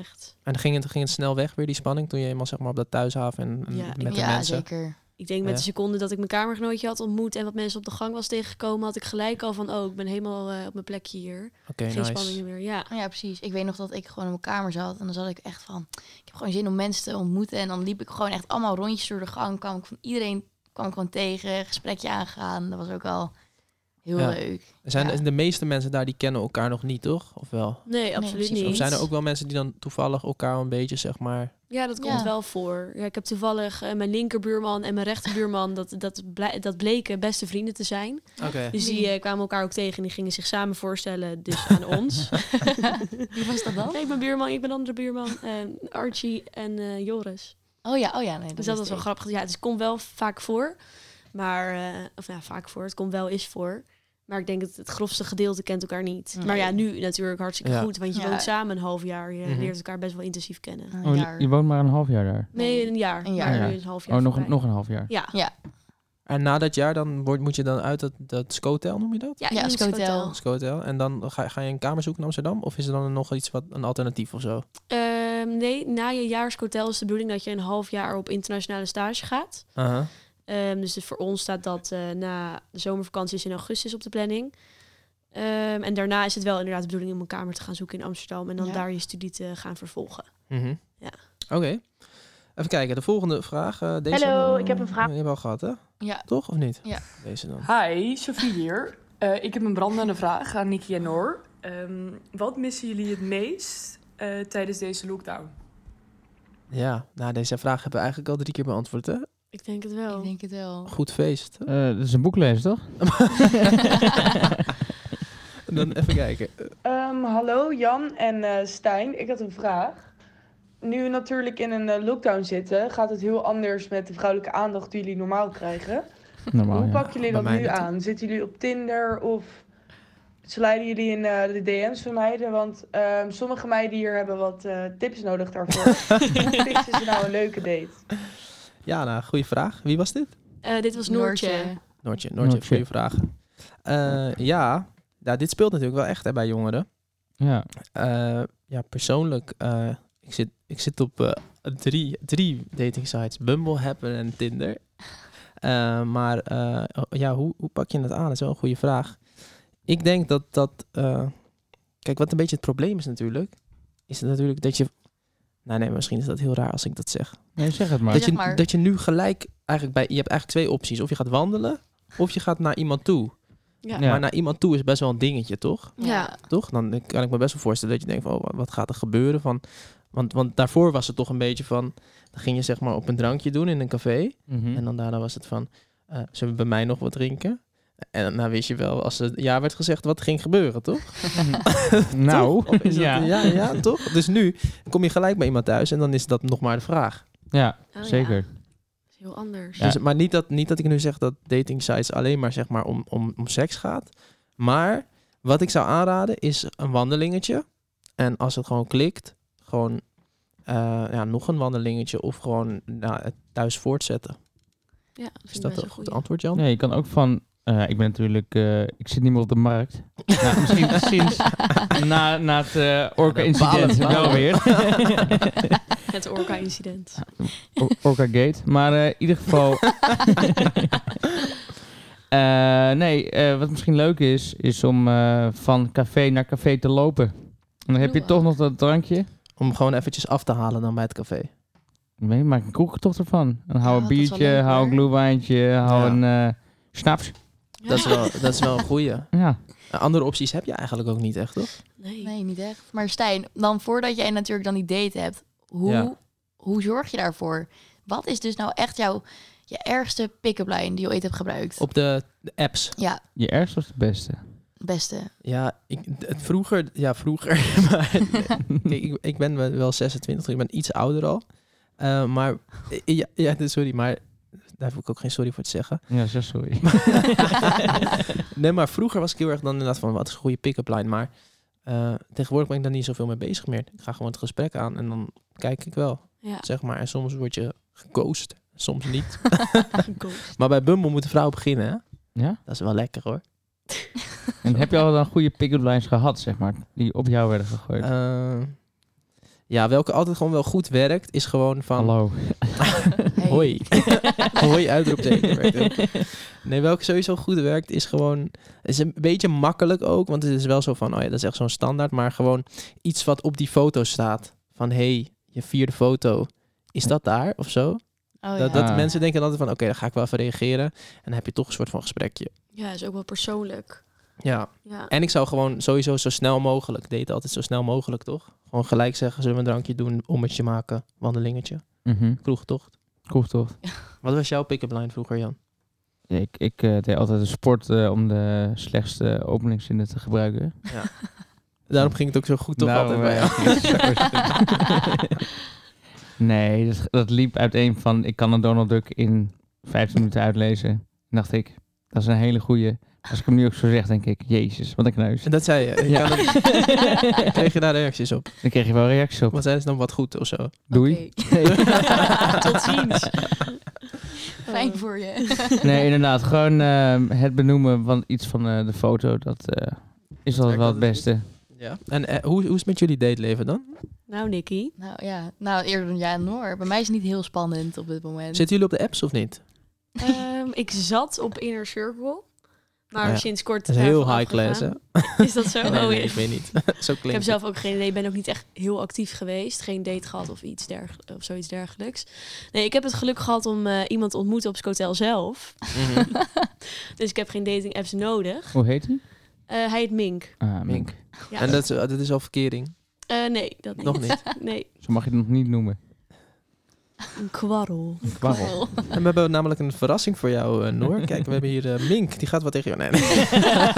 Speaker 4: echt.
Speaker 1: En ging het, ging het snel weg weer, die spanning, toen je eenmaal zeg maar, op dat thuishaven en, en
Speaker 4: Ja,
Speaker 1: met
Speaker 4: ik-
Speaker 1: de
Speaker 3: ja,
Speaker 1: mensen?
Speaker 3: zeker.
Speaker 4: Ik denk met
Speaker 1: Ja.
Speaker 4: de seconde dat ik mijn kamergenootje had ontmoet en wat mensen op de gang was tegengekomen, had ik gelijk al van, oh, ik ben helemaal eh, op mijn plekje hier.
Speaker 1: Oké,
Speaker 4: Geen
Speaker 1: nice.
Speaker 4: spanningen meer. Ja,
Speaker 3: Oh Ja, precies. Ik weet nog dat ik gewoon in mijn kamer zat. En dan zat ik echt van... Ik heb gewoon zin om mensen te ontmoeten. En dan liep ik gewoon echt allemaal rondjes door de gang. Kwam ik van iedereen kwam ik gewoon tegen. Gesprekje aangaan. Dat was ook al heel
Speaker 1: Ja.
Speaker 3: leuk.
Speaker 1: Zijn
Speaker 3: Ja.
Speaker 1: de meeste mensen daar, die kennen elkaar nog niet, toch? Of wel?
Speaker 4: nee, absoluut
Speaker 3: precies.
Speaker 4: niet.
Speaker 1: Of zijn er ook wel mensen die dan toevallig elkaar een beetje, zeg maar...
Speaker 4: Ja, dat komt
Speaker 3: Ja.
Speaker 4: wel voor. Ja, ik heb toevallig eh, mijn linkerbuurman en mijn rechterbuurman, dat, dat, blij- dat bleken beste vrienden te zijn.
Speaker 1: Oké.
Speaker 4: Dus die eh, kwamen elkaar ook tegen en die gingen zich samen voorstellen, dus aan ons.
Speaker 3: Wie was dat dan?
Speaker 4: Nee, ik ben buurman, ik ben andere buurman. En Archie en eh, Joris.
Speaker 3: Oh ja, oh ja. Nee, dat
Speaker 4: Dus dat
Speaker 3: wist
Speaker 4: was wel
Speaker 3: ik.
Speaker 4: grappig. Ja, dus het komt wel vaak voor. Maar, eh, of nou, vaak voor. Het komt wel eens voor. Maar ik denk dat het grofste gedeelte kent elkaar niet.
Speaker 3: Nee.
Speaker 4: Maar ja, nu natuurlijk hartstikke
Speaker 1: Ja.
Speaker 4: goed. Want je
Speaker 3: Ja.
Speaker 4: woont samen een half jaar. Je
Speaker 1: Mhm.
Speaker 4: leert elkaar best wel intensief kennen.
Speaker 3: Een
Speaker 2: Oh, je-
Speaker 3: jaar.
Speaker 2: je woont maar een half jaar daar.
Speaker 4: Nee, een jaar.
Speaker 3: Een
Speaker 4: Een
Speaker 3: jaar.
Speaker 4: jaar.
Speaker 2: Ja.
Speaker 4: nu is een half jaar
Speaker 2: oh, nog,
Speaker 4: voorbij.
Speaker 2: nog een half jaar.
Speaker 4: Ja.
Speaker 3: Ja,
Speaker 1: En na dat jaar, dan wordt, moet je dan uit dat, dat scotel, noem je dat?
Speaker 4: Ja,
Speaker 3: Ja,
Speaker 4: in het
Speaker 3: Scotel.
Speaker 4: hotel.
Speaker 1: Scotel. En dan ga, ga je een kamer zoeken in Amsterdam? Of is er dan nog iets wat, een alternatief of zo?
Speaker 4: Ehm, nee, na je jaarscotel is de bedoeling dat je een half jaar op internationale stage gaat.
Speaker 1: Aha.
Speaker 4: Ehm, dus voor ons staat dat eh, na de zomervakantie is in augustus op de planning. Ehm, en daarna is het wel inderdaad de bedoeling om een kamer te gaan zoeken in Amsterdam. En dan
Speaker 3: Ja.
Speaker 4: daar je studie te gaan vervolgen.
Speaker 1: Mhm.
Speaker 4: Ja.
Speaker 1: Oké. Even kijken, de volgende vraag. eh, deze
Speaker 6: Hallo,
Speaker 1: dan-
Speaker 6: ik heb een vraag.
Speaker 1: Je hebt al gehad, hè?
Speaker 3: ja.
Speaker 1: Toch, of niet?
Speaker 3: Ja.
Speaker 1: Deze dan.
Speaker 10: Hi, Sophie hier. Eh, ik heb een brandende vraag aan Nikki en Noor. Ehm, wat missen jullie het meest eh, tijdens deze lockdown?
Speaker 1: Ja, nou, deze vraag hebben we eigenlijk al drie keer beantwoord, hè?
Speaker 4: Ik denk het wel.
Speaker 3: ik denk het wel.
Speaker 1: Goed feest.
Speaker 2: Eh, dat is een boeklezer, toch?
Speaker 1: dan even kijken.
Speaker 11: Ehm, hallo Jan en eh, Stijn, ik had een vraag. Nu we natuurlijk in een eh, lockdown zitten, gaat het heel anders met de vrouwelijke aandacht die jullie normaal krijgen.
Speaker 2: Normaal,
Speaker 11: Hoe
Speaker 2: ja.
Speaker 11: pakken jullie
Speaker 1: bij
Speaker 11: dat
Speaker 1: mij
Speaker 11: nu
Speaker 1: niet.
Speaker 11: aan? Zitten jullie op Tinder of sliden jullie in eh, de DM's van meiden? Want ehm, sommige meiden hier hebben wat eh, tips nodig daarvoor. Hoe fixen ze nou een leuke date?
Speaker 1: Ja, nou, goede vraag. Wie was dit?
Speaker 4: Eh, dit was Noortje.
Speaker 1: Noortje, Noortje,
Speaker 2: Noortje.
Speaker 1: goede vraag. Eh, ja, nou, dit speelt natuurlijk wel echt hè, bij jongeren.
Speaker 2: Ja.
Speaker 1: Eh, ja, persoonlijk, eh, ik, zit, ik zit op eh, drie, drie dating sites. Bumble, Happen en Tinder. Eh, maar eh, ja, hoe, hoe pak je het aan? Dat is wel een goede vraag. Ik denk dat dat... eh, kijk, wat een beetje het probleem is natuurlijk... Is natuurlijk dat je... Nou nee, misschien is dat heel raar als ik dat zeg.
Speaker 2: Nee, zeg het maar.
Speaker 1: Dat je,
Speaker 3: maar.
Speaker 1: dat je nu gelijk eigenlijk bij... Je hebt eigenlijk twee opties. Of je gaat wandelen, of je gaat naar iemand toe.
Speaker 4: Ja.
Speaker 2: Ja.
Speaker 1: Maar naar iemand toe is best wel een dingetje, toch?
Speaker 4: Ja.
Speaker 1: toch? Dan kan ik me best wel voorstellen dat je denkt van, oh, wa- wat gaat er gebeuren? Van, want, want daarvoor was het toch een beetje van, dan ging je zeg maar op een drankje doen in een café.
Speaker 2: Mhm.
Speaker 1: En dan daarna was het van, eh, zullen we bij mij nog wat drinken? En daarna wist je wel, als het ja werd gezegd, wat ging gebeuren, toch?
Speaker 2: nou,
Speaker 1: Toch? Of is dat-
Speaker 2: ja.
Speaker 1: ja, ja, toch? Dus nu kom je gelijk bij iemand thuis en dan is dat nog maar de vraag.
Speaker 2: ja,
Speaker 4: Oh,
Speaker 2: zeker.
Speaker 4: Ja. Dat is heel anders.
Speaker 2: Ja.
Speaker 1: Dus, maar niet dat, niet dat ik nu zeg dat dating sites alleen maar, zeg maar om, om, om seks gaat. Maar wat ik zou aanraden is een wandelingetje. En als het gewoon klikt, gewoon eh, ja, nog een wandelingetje of gewoon nou, het thuis voortzetten.
Speaker 4: Ja, vind
Speaker 1: Is
Speaker 4: ik
Speaker 1: dat
Speaker 4: best
Speaker 1: een goed
Speaker 4: goeie.
Speaker 1: antwoord, Jan?
Speaker 2: Nee, je kan ook van... eh, ik ben natuurlijk... eh, ik zit niet meer op de markt. nou, misschien sinds na, na het eh, Orca-incident
Speaker 1: Ja, dat
Speaker 2: wel
Speaker 1: balen we.
Speaker 2: weer.
Speaker 4: Het Orca-incident.
Speaker 2: Or- Orca Gate. Maar eh, in ieder geval. Eh, nee, eh, wat misschien leuk is, is om eh, van café naar café te lopen. En dan heb je
Speaker 3: Doe
Speaker 2: toch
Speaker 3: ook.
Speaker 2: nog dat drankje.
Speaker 1: Om gewoon eventjes af te halen dan bij het café.
Speaker 2: Nee, maak een kroekentocht ervan. Dan hou
Speaker 3: Ja,
Speaker 2: een
Speaker 3: dat is wel
Speaker 2: biertje,
Speaker 3: leuk,
Speaker 2: hou een
Speaker 3: hoor.
Speaker 2: glühwijntje, hou
Speaker 1: Ja.
Speaker 2: een eh, snaps.
Speaker 4: Ja.
Speaker 1: Dat, is wel, dat is wel een goeie.
Speaker 2: Ja.
Speaker 1: Eh, Andere opties heb je eigenlijk ook niet echt, toch?
Speaker 4: Nee.
Speaker 3: Nee, niet echt. Maar Stijn, dan voordat jij natuurlijk dan die date hebt, hoe,
Speaker 1: Ja.
Speaker 3: hoe zorg je daarvoor? Wat is dus nou echt jouw
Speaker 1: Oh.
Speaker 3: je ergste pick-up line die je ooit hebt gebruikt?
Speaker 1: Op de, de apps.
Speaker 3: Ja,
Speaker 2: Je ergste was de beste.
Speaker 3: beste?
Speaker 1: Ja, ik, het vroeger, ja, vroeger. maar, kijk, ik, ik ben wel- wel 26, ik ben iets ouder al. Eh, maar, eh, ja, ja, dus sorry, maar daar heb ik ook geen sorry voor te zeggen.
Speaker 2: Ja, zo sorry.
Speaker 1: nee, maar vroeger was ik heel erg dan inderdaad van, wat is een goede pick-up line? Maar eh, tegenwoordig ben ik daar niet zoveel mee bezig meer. Ik ga gewoon het gesprek aan en dan kijk ik wel,
Speaker 3: Ja.
Speaker 1: zeg maar. En soms word je geghost, soms niet. maar bij Bumble moet de vrouw beginnen, hè?
Speaker 2: Ja?
Speaker 1: Dat is wel lekker, hoor.
Speaker 2: En heb je al dan goede pick-up lines gehad, zeg maar, die op jou werden gegooid?
Speaker 1: Eh, ja, welke altijd gewoon wel goed werkt, is gewoon van...
Speaker 2: Hallo.
Speaker 1: Hoi. Hoi, uitroepteken. werkt heel goed. Nee, welke sowieso goed werkt, is gewoon... is een beetje makkelijk ook, want het is wel zo van... Oh ja, dat is echt zo'n standaard. Maar gewoon iets wat op die foto staat. Van, hey, je vierde foto. Is dat daar of zo?
Speaker 3: Oh,
Speaker 1: dat
Speaker 3: ja.
Speaker 1: dat
Speaker 3: Ah.
Speaker 1: mensen denken altijd van... Oké, daar ga ik wel even reageren. En dan heb je toch een soort van gesprekje.
Speaker 4: Ja, is ook wel persoonlijk.
Speaker 1: Ja.
Speaker 4: Ja. eh,
Speaker 1: En ik zou gewoon sowieso zo snel mogelijk... Deed altijd zo snel mogelijk, toch? Gewoon gelijk zeggen, zullen we een drankje doen? Ommetje maken, wandelingetje.
Speaker 2: Mhm.
Speaker 1: Kroegtocht.
Speaker 2: Kroegtocht.
Speaker 1: Wat was jouw pick-up line vroeger, Jan?
Speaker 2: Nee, ik ik eh, deed altijd een sport eh, om de slechtste openingszinnen te gebruiken.
Speaker 1: Ja. Daarom ging het ook zo goed toch altijd bij
Speaker 2: eh,
Speaker 1: jou.
Speaker 2: zakkers. nee, dat, dat liep uiteen van ik kan een Donald Duck in 15 minuten uitlezen. En dacht ik, dat is een hele goede. Als ik hem nu ook zo zeg, denk ik, jezus, wat een kneus.
Speaker 1: En dat zei je. Ik
Speaker 2: Ja.
Speaker 1: kan het- Kreeg je daar reacties op?
Speaker 2: Dan kreeg je wel reacties op.
Speaker 1: Wat zijn ze dan wat goed of zo?
Speaker 2: Doei.
Speaker 3: Tot ziens. Fijn voor je.
Speaker 2: Nee, inderdaad. Gewoon ehm, het benoemen van iets van eh, de foto, dat eh, is altijd wel het beste.
Speaker 1: Ja. En eh, hoe, hoe is het met jullie dateleven dan?
Speaker 4: Nou, Nicky.
Speaker 3: Nou ja, nou eerder dan jij en Noor. Bij mij is het niet heel spannend op dit moment.
Speaker 1: Zitten jullie op de apps of niet?
Speaker 4: Ehm, ik zat op Inner Circle. Maar
Speaker 1: Ja.
Speaker 4: sinds kort...
Speaker 1: Dat is heel
Speaker 4: daarvan
Speaker 1: high class, hè?
Speaker 4: afgegaan. Is dat zo?
Speaker 1: Nee,
Speaker 4: Oh,
Speaker 1: nee,
Speaker 4: ja.
Speaker 1: ik weet niet. zo klinkt
Speaker 4: Ik heb
Speaker 1: het.
Speaker 4: zelf ook geen idee. Ik ben ook niet echt heel actief geweest. Geen date gehad of, iets dergel- of zoiets dergelijks. Nee, ik heb het geluk gehad om eh, iemand te ontmoeten op het hotel zelf.
Speaker 1: Mhm.
Speaker 4: dus ik heb geen dating apps nodig.
Speaker 2: Hoe heet hij?
Speaker 4: Eh, hij heet Mink.
Speaker 2: Ah, Mink.
Speaker 4: Ja.
Speaker 1: En dat is, dat is al verkering.
Speaker 4: Eh, nee, dat niet.
Speaker 1: Nog niet?
Speaker 4: Nee,
Speaker 2: Zo mag je het nog niet noemen.
Speaker 4: een kwarrel.
Speaker 2: Een kwarrel.
Speaker 1: En we hebben namelijk een verrassing voor jou, eh, Noor. Kijk, we hebben hier eh, Mink. Die gaat wat tegen jou. Nee, nee.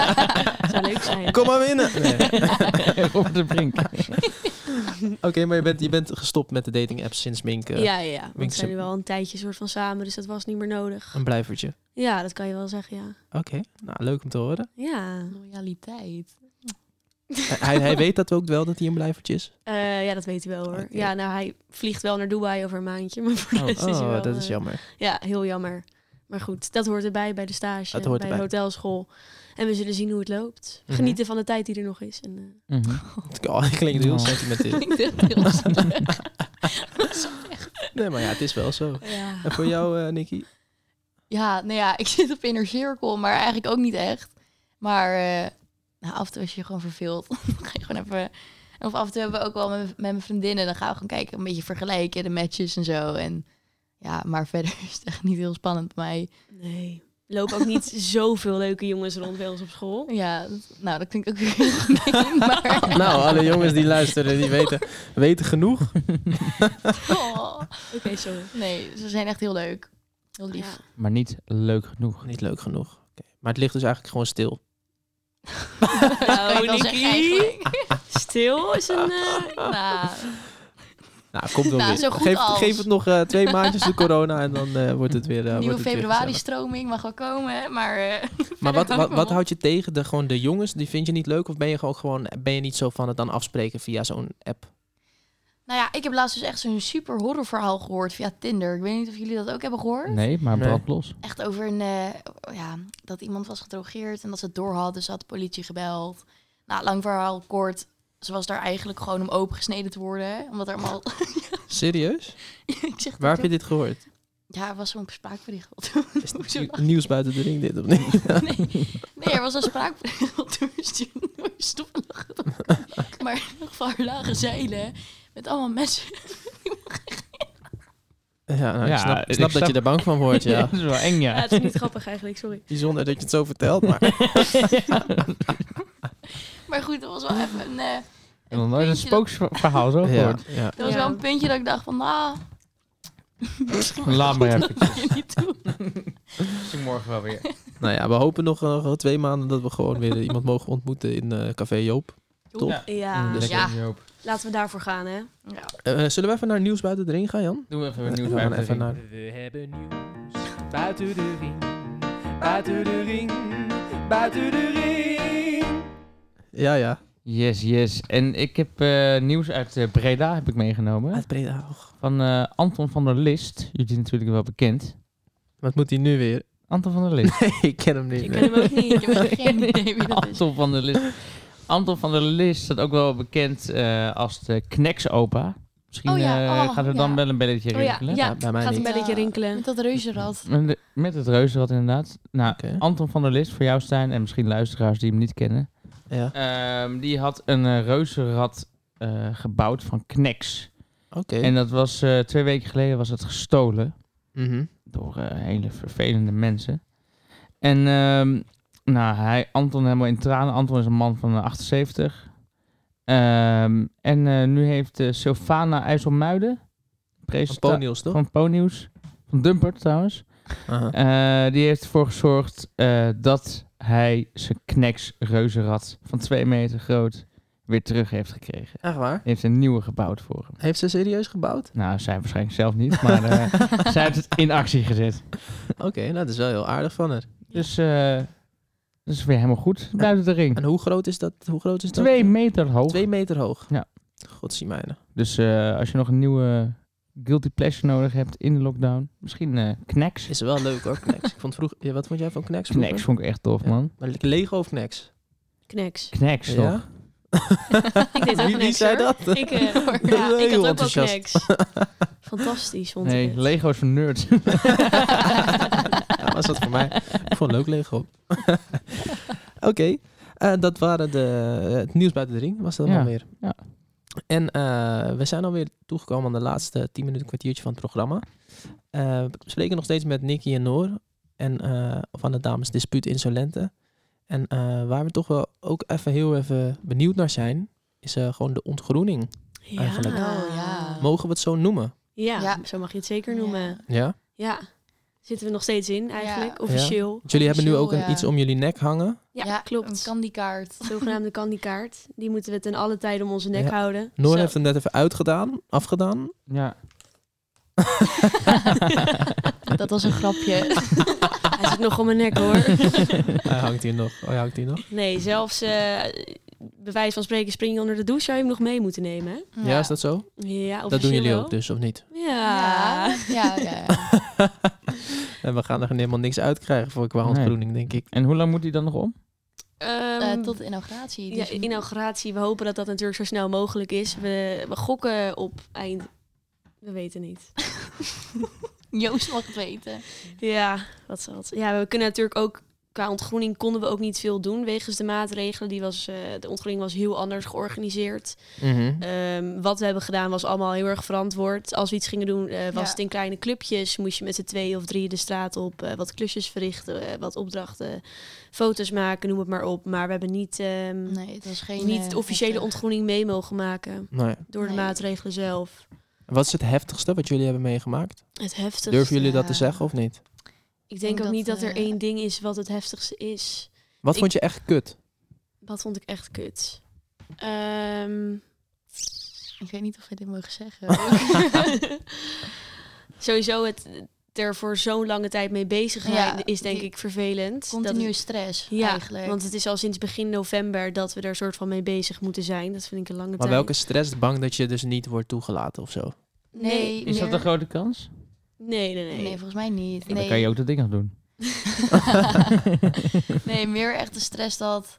Speaker 4: Zou leuk zijn.
Speaker 1: Kom maar winnen! Nee.
Speaker 2: Op de brink.
Speaker 1: Oké, maar je bent, je bent gestopt met de dating apps sinds Mink.
Speaker 4: Ja,
Speaker 1: eh,
Speaker 4: ja, ja.
Speaker 1: Mink
Speaker 4: We
Speaker 1: is
Speaker 4: zijn nu
Speaker 1: een-
Speaker 4: wel een tijdje soort van samen, dus dat was niet meer nodig.
Speaker 1: Een blijvertje.
Speaker 4: Ja, dat kan je wel zeggen, ja.
Speaker 1: Oké, nou leuk om te horen.
Speaker 4: Ja.
Speaker 3: Loyaliteit.
Speaker 1: Eh, hij, hij weet dat ook wel dat hij een blijvertje is.
Speaker 4: Eh, ja, dat weet hij wel hoor. Ja, nou, hij vliegt wel naar Dubai over een maandje. Maar voor de
Speaker 1: Ah, Oh,
Speaker 4: rest is hij
Speaker 1: oh,
Speaker 4: wel,
Speaker 1: dat is
Speaker 4: eh,
Speaker 1: jammer.
Speaker 4: ja, heel jammer. Maar goed, dat hoort erbij bij de stage,
Speaker 1: Dat hoort
Speaker 4: bij de
Speaker 1: erbij.
Speaker 4: hotelschool. En we zullen zien hoe het loopt.
Speaker 1: Mhm.
Speaker 4: Genieten van de tijd die er nog is. En, eh,
Speaker 2: Mhm.
Speaker 1: Oh, dat klinkt heel
Speaker 2: Oh.
Speaker 1: sentimenteel.
Speaker 3: Klinkt echt heel slecht.
Speaker 1: Nee, maar ja, het is wel zo.
Speaker 3: Ja.
Speaker 1: En voor jou, eh Nicky?
Speaker 3: Ja, nou ja, ik zit op Inner Circle, maar eigenlijk ook niet echt. Maar eh, nou, af en toe als je je gewoon verveelt, dan ga je gewoon even... Of af en toe hebben we ook wel met, met mijn vriendinnen, dan gaan we gewoon kijken, een beetje vergelijken, de matches en zo. En ja, maar verder is het echt niet heel spannend bij mij.
Speaker 4: nee. Er lopen ook niet zoveel leuke jongens rond bij ons op school.
Speaker 3: Ja, dat- nou, dat klinkt ook weer heel gemeen, maar...
Speaker 1: Nou, alle jongens die luisteren, die weten, weten genoeg.
Speaker 3: Oh.
Speaker 4: Oké, sorry.
Speaker 3: Nee, ze zijn echt heel leuk. Heel lief.
Speaker 2: Maar niet leuk genoeg.
Speaker 1: Niet leuk genoeg. Oké. Maar het ligt dus eigenlijk gewoon stil.
Speaker 3: Nou,
Speaker 4: Nicky. Stil is een... eh,
Speaker 3: Nou,
Speaker 1: Ah. Nou, komt wel
Speaker 3: Nou,
Speaker 1: weer.
Speaker 3: zo goed
Speaker 1: geef,
Speaker 3: als.
Speaker 1: geef het nog eh, twee maandjes de corona en dan eh, wordt het weer eh, wordt
Speaker 3: nieuwe
Speaker 1: het weer gezellig.
Speaker 3: februari-stroming mag wel komen, hè, maar... eh,
Speaker 1: Maar
Speaker 3: verder
Speaker 1: wat,
Speaker 3: hou
Speaker 1: wat,
Speaker 3: ik me
Speaker 1: wat
Speaker 3: op.
Speaker 1: houd je tegen? De, gewoon de jongens, die vind je niet leuk? Of ben je gewoon, gewoon ben je niet zo van het dan afspreken via zo'n app?
Speaker 3: Nou ja, ik heb laatst dus echt zo'n super horrorverhaal gehoord via Tinder. Ik weet niet of jullie dat ook hebben gehoord.
Speaker 2: Nee, maar
Speaker 1: Nee.
Speaker 2: brand los.
Speaker 3: Echt over een, eh, ja, dat iemand was gedrogeerd en dat ze het door had. Dus ze had de politie gebeld. Nou, lang verhaal kort. Ze was daar eigenlijk gewoon om opengesneden te worden. Omdat er allemaal...
Speaker 1: Serieus?
Speaker 3: ik zeg
Speaker 1: Waar heb je dit gehoord?
Speaker 3: Ja, er was zo'n spraakbericht.
Speaker 1: Is het nieuw- nieuws buiten de ring dit of niet?
Speaker 3: Nee, er was een spraakbericht op de stuur. Stoppen lachen. Maar in ieder geval er lagen zeilen met allemaal mensen.
Speaker 1: Ja, nou,
Speaker 2: Ja,
Speaker 1: ik snap, ik
Speaker 2: ik
Speaker 1: snap dat
Speaker 2: snap-
Speaker 1: je daar bang van wordt, ja.
Speaker 2: dat is wel eng,
Speaker 4: ja,
Speaker 2: ja.
Speaker 4: het is niet grappig eigenlijk, sorry.
Speaker 1: Bijzonder dat je het zo vertelt, maar...
Speaker 3: Maar goed, dat was wel even een... eh,
Speaker 2: En dan nooit een
Speaker 3: puntje dat-
Speaker 2: spooksverhaal zo
Speaker 1: Ja,
Speaker 2: gehoord.
Speaker 1: ja.
Speaker 3: Dat was
Speaker 4: Ja.
Speaker 3: wel een puntje dat ik dacht van, nou,
Speaker 2: Laat maar
Speaker 3: Goed,
Speaker 2: eventjes.
Speaker 3: dat mag je niet doen.
Speaker 2: Misschien morgen wel weer.
Speaker 1: Nou ja, we hopen nog, nog twee maanden dat we gewoon weer eh, iemand mogen ontmoeten in eh, Café Joop.
Speaker 4: Joep.
Speaker 1: Top.
Speaker 4: Ja. Ja.
Speaker 1: Dus-
Speaker 4: Ja. Laten we daarvoor gaan, hè?
Speaker 1: Eh, zullen we even naar nieuws buiten de ring gaan, Jan?
Speaker 2: Doen we even
Speaker 1: Eh,
Speaker 2: weer nieuws
Speaker 1: we gaan
Speaker 2: buiten de
Speaker 1: even naar
Speaker 2: ring.
Speaker 12: We hebben nieuws buiten de ring, buiten de ring, buiten de ring.
Speaker 1: Ja, ja.
Speaker 2: Yes, yes. En ik heb eh, nieuws uit eh, Breda heb ik meegenomen. Uit
Speaker 1: Breda.
Speaker 2: Van eh, Anton van der List. Jullie natuurlijk wel bekend.
Speaker 1: Wat moet hij nu weer?
Speaker 2: Anton van der List.
Speaker 1: Nee, ik ken hem niet. Ik
Speaker 3: ken hem ook niet. Ik heb geen idee wie dat is.
Speaker 2: Anton van der List. Anton van der List staat ook wel bekend eh, als de Knex-opa. Misschien
Speaker 3: Oh ja,
Speaker 2: eh,
Speaker 3: oh,
Speaker 2: gaat er dan
Speaker 3: ja.
Speaker 2: wel een belletje
Speaker 3: Oh ja,
Speaker 2: rinkelen.
Speaker 3: ja, gaat een belletje rinkelen. Met dat reuzenrad.
Speaker 2: Met, de- met het reuzenrad inderdaad. Nou, Anton van der List, voor jou Stijn, en misschien luisteraars die hem niet kennen.
Speaker 1: Ja.
Speaker 2: Ehm, die had een eh, reuzenrad eh, gebouwd van Knex.
Speaker 1: Oké.
Speaker 2: En dat was eh, twee weken geleden was het gestolen
Speaker 1: Mhm.
Speaker 2: door eh, hele vervelende mensen. En ehm, nou, hij, Anton helemaal in tranen. Anton is een man van eh, 78. Ehm, en eh, nu heeft eh, Sylvana IJsselmuiden... presenta-
Speaker 1: Ponyhoes, toch?
Speaker 2: Van Ponyhoes. Van Dumpert trouwens. Eh, die heeft ervoor gezorgd eh, dat hij zijn kneks reuzenrad van 2 meter groot weer terug heeft gekregen.
Speaker 1: Echt waar?
Speaker 2: Heeft een nieuwe gebouwd voor hem.
Speaker 1: Heeft ze serieus gebouwd?
Speaker 2: Nou, zij waarschijnlijk zelf niet, maar eh, zij heeft het in actie gezet.
Speaker 1: Oké, nou dat is wel heel aardig van haar.
Speaker 2: Dus eh, dat is weer helemaal goed buiten de ring.
Speaker 1: En hoe groot is dat? Hoe groot is dat?
Speaker 2: Twee meter hoog.
Speaker 1: Twee meter hoog.
Speaker 2: Ja.
Speaker 1: Godziemijnen.
Speaker 2: Dus eh, als je nog een nieuwe guilty pleasure nodig hebt in de lockdown, misschien eh kneks.
Speaker 1: Is wel leuk hoor, Knex. Ik vond vroeg, ja, wat vond jij van Knex? vroeger?
Speaker 2: Kneks vond ik echt tof, man.
Speaker 1: Maar Lego of Knex?
Speaker 4: Kneks.
Speaker 2: Kneks, toch?
Speaker 1: Ja?
Speaker 4: Ik deed
Speaker 1: Wie-
Speaker 4: ook
Speaker 1: wie
Speaker 4: Kneks,
Speaker 1: zei
Speaker 4: hoor.
Speaker 1: dat?
Speaker 4: Ik, eh,
Speaker 1: Dat is
Speaker 4: ja,
Speaker 1: heel
Speaker 4: ik had ook wel
Speaker 1: enthousiast.
Speaker 4: Kneks. Fantastisch, vond
Speaker 2: Nee,
Speaker 4: ik. het.
Speaker 2: Lego is voor nerds.
Speaker 1: Ja, was dat voor mij? Ik vond het leuk Lego. Oké, eh, dat waren de, eh, het nieuws buiten de ring. Was dat
Speaker 2: Ja,
Speaker 1: allemaal weer?
Speaker 2: ja.
Speaker 1: En eh, we zijn alweer toegekomen aan de laatste 10 minuten kwartiertje van het programma. Eh, we spreken nog steeds met Nicky en Noor. En eh, van de dames Dispuut Insolente. En eh, waar we toch wel ook even heel even benieuwd naar zijn, is eh, gewoon de ontgroening.
Speaker 4: Ja.
Speaker 1: Eigenlijk.
Speaker 4: Oh, ja.
Speaker 1: Mogen we het zo noemen?
Speaker 4: Ja, zo mag je het zeker noemen.
Speaker 1: Ja.
Speaker 4: Ja. Zitten we nog steeds in eigenlijk,
Speaker 1: Ja.
Speaker 4: officieel.
Speaker 1: Want Jullie hebben nu ook een,
Speaker 4: Officieel, ja.
Speaker 1: iets om jullie nek hangen.
Speaker 4: Ja, klopt. Een
Speaker 3: candykaart.
Speaker 4: Zogenaamde candykaart. Die moeten we ten alle tijde om onze nek
Speaker 1: Ja.
Speaker 4: houden.
Speaker 1: Noor
Speaker 4: Zo.
Speaker 1: heeft hem net even uitgedaan, afgedaan.
Speaker 2: Ja.
Speaker 3: Dat was een grapje.
Speaker 4: Ah, Hij zit nog om mijn nek hoor.
Speaker 1: Hij hangt hier nog. Oh, hij hangt hier nog.
Speaker 4: Nee, zelfs eh bij wijze van spreken spring je onder de douche, zou je hem nog mee moeten nemen. Hè?
Speaker 1: Ja, is dat zo?
Speaker 4: Ja,
Speaker 1: dat doen
Speaker 4: officieel
Speaker 1: jullie
Speaker 4: wel.
Speaker 1: ook dus, of niet?
Speaker 4: Ja.
Speaker 3: Ja, ja, ja.
Speaker 1: En we gaan er helemaal niks uitkrijgen voor qua ontgroening, denk ik.
Speaker 2: En hoe lang moet hij dan nog om?
Speaker 4: Ehm,
Speaker 3: Eh, tot de inauguratie.
Speaker 4: ja,
Speaker 3: Dus
Speaker 4: inauguratie. We hopen dat dat natuurlijk zo snel mogelijk is. We, we gokken op eind... We weten niet.
Speaker 3: Joost mag het weten.
Speaker 4: Ja, wat zal het- Ja, we kunnen natuurlijk ook... Qua ontgroening konden we ook niet veel doen wegens de maatregelen. Die was, eh, de ontgroening was heel anders georganiseerd.
Speaker 1: Mhm.
Speaker 4: Ehm, wat we hebben gedaan was allemaal heel erg verantwoord. Als we iets gingen doen, eh, was
Speaker 3: Ja.
Speaker 4: het in kleine clubjes. Moest je met z'n twee of drie de straat op, eh, wat klusjes verrichten, eh, wat opdrachten, foto's maken, noem het maar op. Maar we hebben niet, ehm,
Speaker 3: Nee, het was geen,
Speaker 4: niet
Speaker 3: eh,
Speaker 4: de officiële
Speaker 3: opdracht.
Speaker 4: ontgroening mee mogen maken
Speaker 1: Nee.
Speaker 4: door de maatregelen zelf.
Speaker 1: Wat is het heftigste wat jullie hebben meegemaakt?
Speaker 4: Het eh, heftigste.
Speaker 1: Durven jullie dat te zeggen of niet?
Speaker 4: eh, Ik denk ook niet dat
Speaker 3: eh,
Speaker 4: er één ding is wat het heftigste is.
Speaker 1: Wat
Speaker 4: Ik-
Speaker 1: vond je echt kut?
Speaker 4: Wat vond ik echt kut? Ehm,
Speaker 3: Ik weet niet of we dit mogen zeggen.
Speaker 4: Sowieso het er voor zo'n lange tijd mee bezig zijn
Speaker 3: Ja,
Speaker 4: is denk
Speaker 3: die-
Speaker 4: ik vervelend.
Speaker 3: continue
Speaker 4: het-
Speaker 3: stress
Speaker 4: ja,
Speaker 3: eigenlijk.
Speaker 4: want het is al sinds begin november dat we er soort van mee bezig moeten zijn. Dat vind ik een lange
Speaker 1: Maar
Speaker 4: tijd.
Speaker 1: welke stress bang dat je dus niet wordt toegelaten of zo?
Speaker 4: Nee,
Speaker 2: Is dat
Speaker 4: meer-
Speaker 2: een grote kans?
Speaker 4: Nee, nee, nee.
Speaker 3: Nee, volgens mij niet.
Speaker 2: Dan
Speaker 3: Nee.
Speaker 2: kan je ook dat ding nog doen.
Speaker 3: nee, meer echt de stress dat...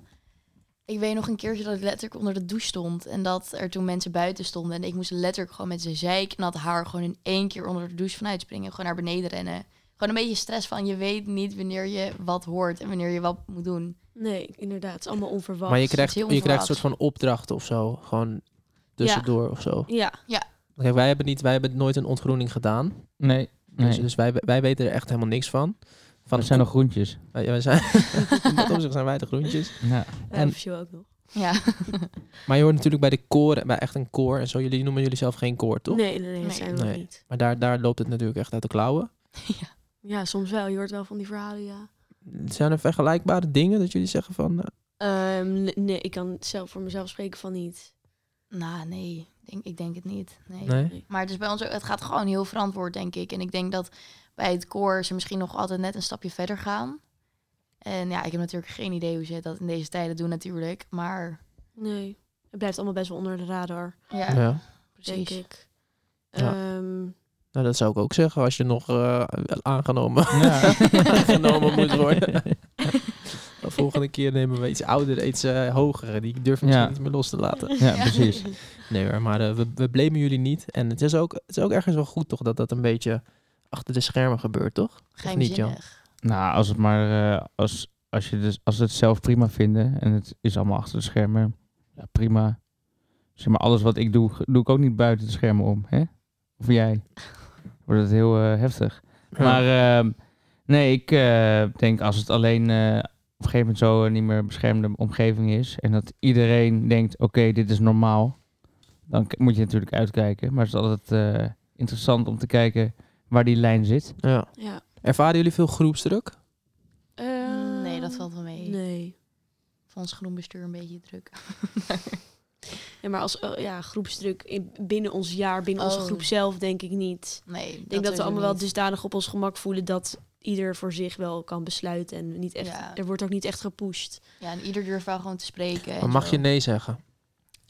Speaker 3: Ik weet nog een keertje dat ik letterlijk onder de douche stond. En dat er toen mensen buiten stonden. En ik moest letterlijk gewoon met zijn zeik en dat haar gewoon in één keer onder de douche vanuit springen. Gewoon naar beneden rennen. Gewoon een beetje stress van je weet niet wanneer je wat hoort en wanneer je wat moet doen.
Speaker 4: Nee, inderdaad. Het is allemaal onverwacht.
Speaker 1: maar je
Speaker 4: het is
Speaker 1: krijgt,
Speaker 4: heel
Speaker 1: je krijgt een soort
Speaker 4: onverwacht.
Speaker 1: van opdrachten of zo. Gewoon tussendoor of zo.
Speaker 4: Ja. Ja.
Speaker 1: Kijk, wij, hebben niet, wij hebben nooit een ontgroening gedaan.
Speaker 2: Nee.
Speaker 1: Dus,
Speaker 2: nee.
Speaker 1: dus wij, wij weten er echt helemaal niks van. van
Speaker 2: Dat zijn nog groentjes.
Speaker 1: Wij, wij zijn, in dat opzicht zijn wij de groentjes.
Speaker 2: Ja.
Speaker 4: En... Officieel ook nog.
Speaker 3: Ja.
Speaker 1: Maar je hoort natuurlijk bij de koren, bij echt een koor en zo. Jullie noemen jullie zelf geen koor, toch?
Speaker 4: Nee, nee, nee, dat zijn we
Speaker 1: Nee.
Speaker 4: niet.
Speaker 1: Maar daar, daar loopt het natuurlijk echt uit de klauwen.
Speaker 4: Ja, soms wel. Je hoort wel van die verhalen, ja.
Speaker 1: Zijn er vergelijkbare dingen dat jullie zeggen van... eh,
Speaker 4: Ehm, n- nee, ik kan zelf voor mezelf spreken van niet.
Speaker 3: Nou, nee. Denk, ik denk het niet. Nee.
Speaker 1: Nee?
Speaker 3: Maar het, is bij ons, ook- het gaat gewoon heel verantwoord, denk ik. En ik denk dat bij het koor ze misschien nog altijd net een stapje verder gaan. En ja, ik heb natuurlijk geen idee hoe ze dat in deze tijden doen natuurlijk. Maar
Speaker 4: Nee. Het blijft allemaal best wel onder de radar,
Speaker 3: ja,
Speaker 1: Ja.
Speaker 4: denk
Speaker 3: precies.
Speaker 4: ik.
Speaker 1: Ja.
Speaker 4: Ehm,
Speaker 1: Nou, dat zou ik ook zeggen als je nog eh, aangenomen,
Speaker 2: Ja.
Speaker 1: aangenomen moet worden. De volgende keer nemen we iets ouder, iets eh hogere. Die durf ik misschien
Speaker 2: Ja.
Speaker 1: niet meer los te laten.
Speaker 2: Ja, precies.
Speaker 1: Nee hoor, maar eh, we, we blamen jullie niet. En het is, ook, het is ook ergens wel goed toch dat dat een beetje achter de schermen gebeurt, toch? Of niet, Jan?
Speaker 3: Geheimzinnig.
Speaker 2: Nou, als het maar eh, als, als, je dus, als ze het zelf prima vinden en het is allemaal achter de schermen, ja, prima. Zeg maar, alles wat ik doe, ge- doe ik ook niet buiten de schermen om, hè? Of jij? Wordt het heel eh, heftig. Maar ehm, nee, ik eh, denk als het alleen eh, op een gegeven moment zo een niet meer beschermde omgeving is en dat iedereen denkt, oké, dit is normaal, dan k- moet je natuurlijk uitkijken. Maar het is altijd eh, interessant om te kijken waar die lijn zit.
Speaker 1: Ja.
Speaker 4: ja.
Speaker 1: Ervaren jullie veel groepsdruk?
Speaker 3: Nee, dat
Speaker 4: Ehm,
Speaker 3: valt wel mee.
Speaker 4: Nee.
Speaker 3: Van ons genoemd bestuur een beetje druk.
Speaker 4: Ja, maar als eh, ja, groepsdruk in, binnen ons jaar, binnen onze
Speaker 3: Oh.
Speaker 4: groep zelf, denk ik niet.
Speaker 3: Nee,
Speaker 4: Ik denk dat, we allemaal wel
Speaker 3: dus-
Speaker 4: dusdanig op ons gemak voelen dat ieder voor zich wel kan besluiten. En niet echt,
Speaker 3: Ja.
Speaker 4: er wordt ook niet echt gepusht.
Speaker 3: Ja, en ieder durft wel gewoon te spreken.
Speaker 1: Maar
Speaker 3: en
Speaker 1: mag
Speaker 3: zo.
Speaker 1: je nee zeggen?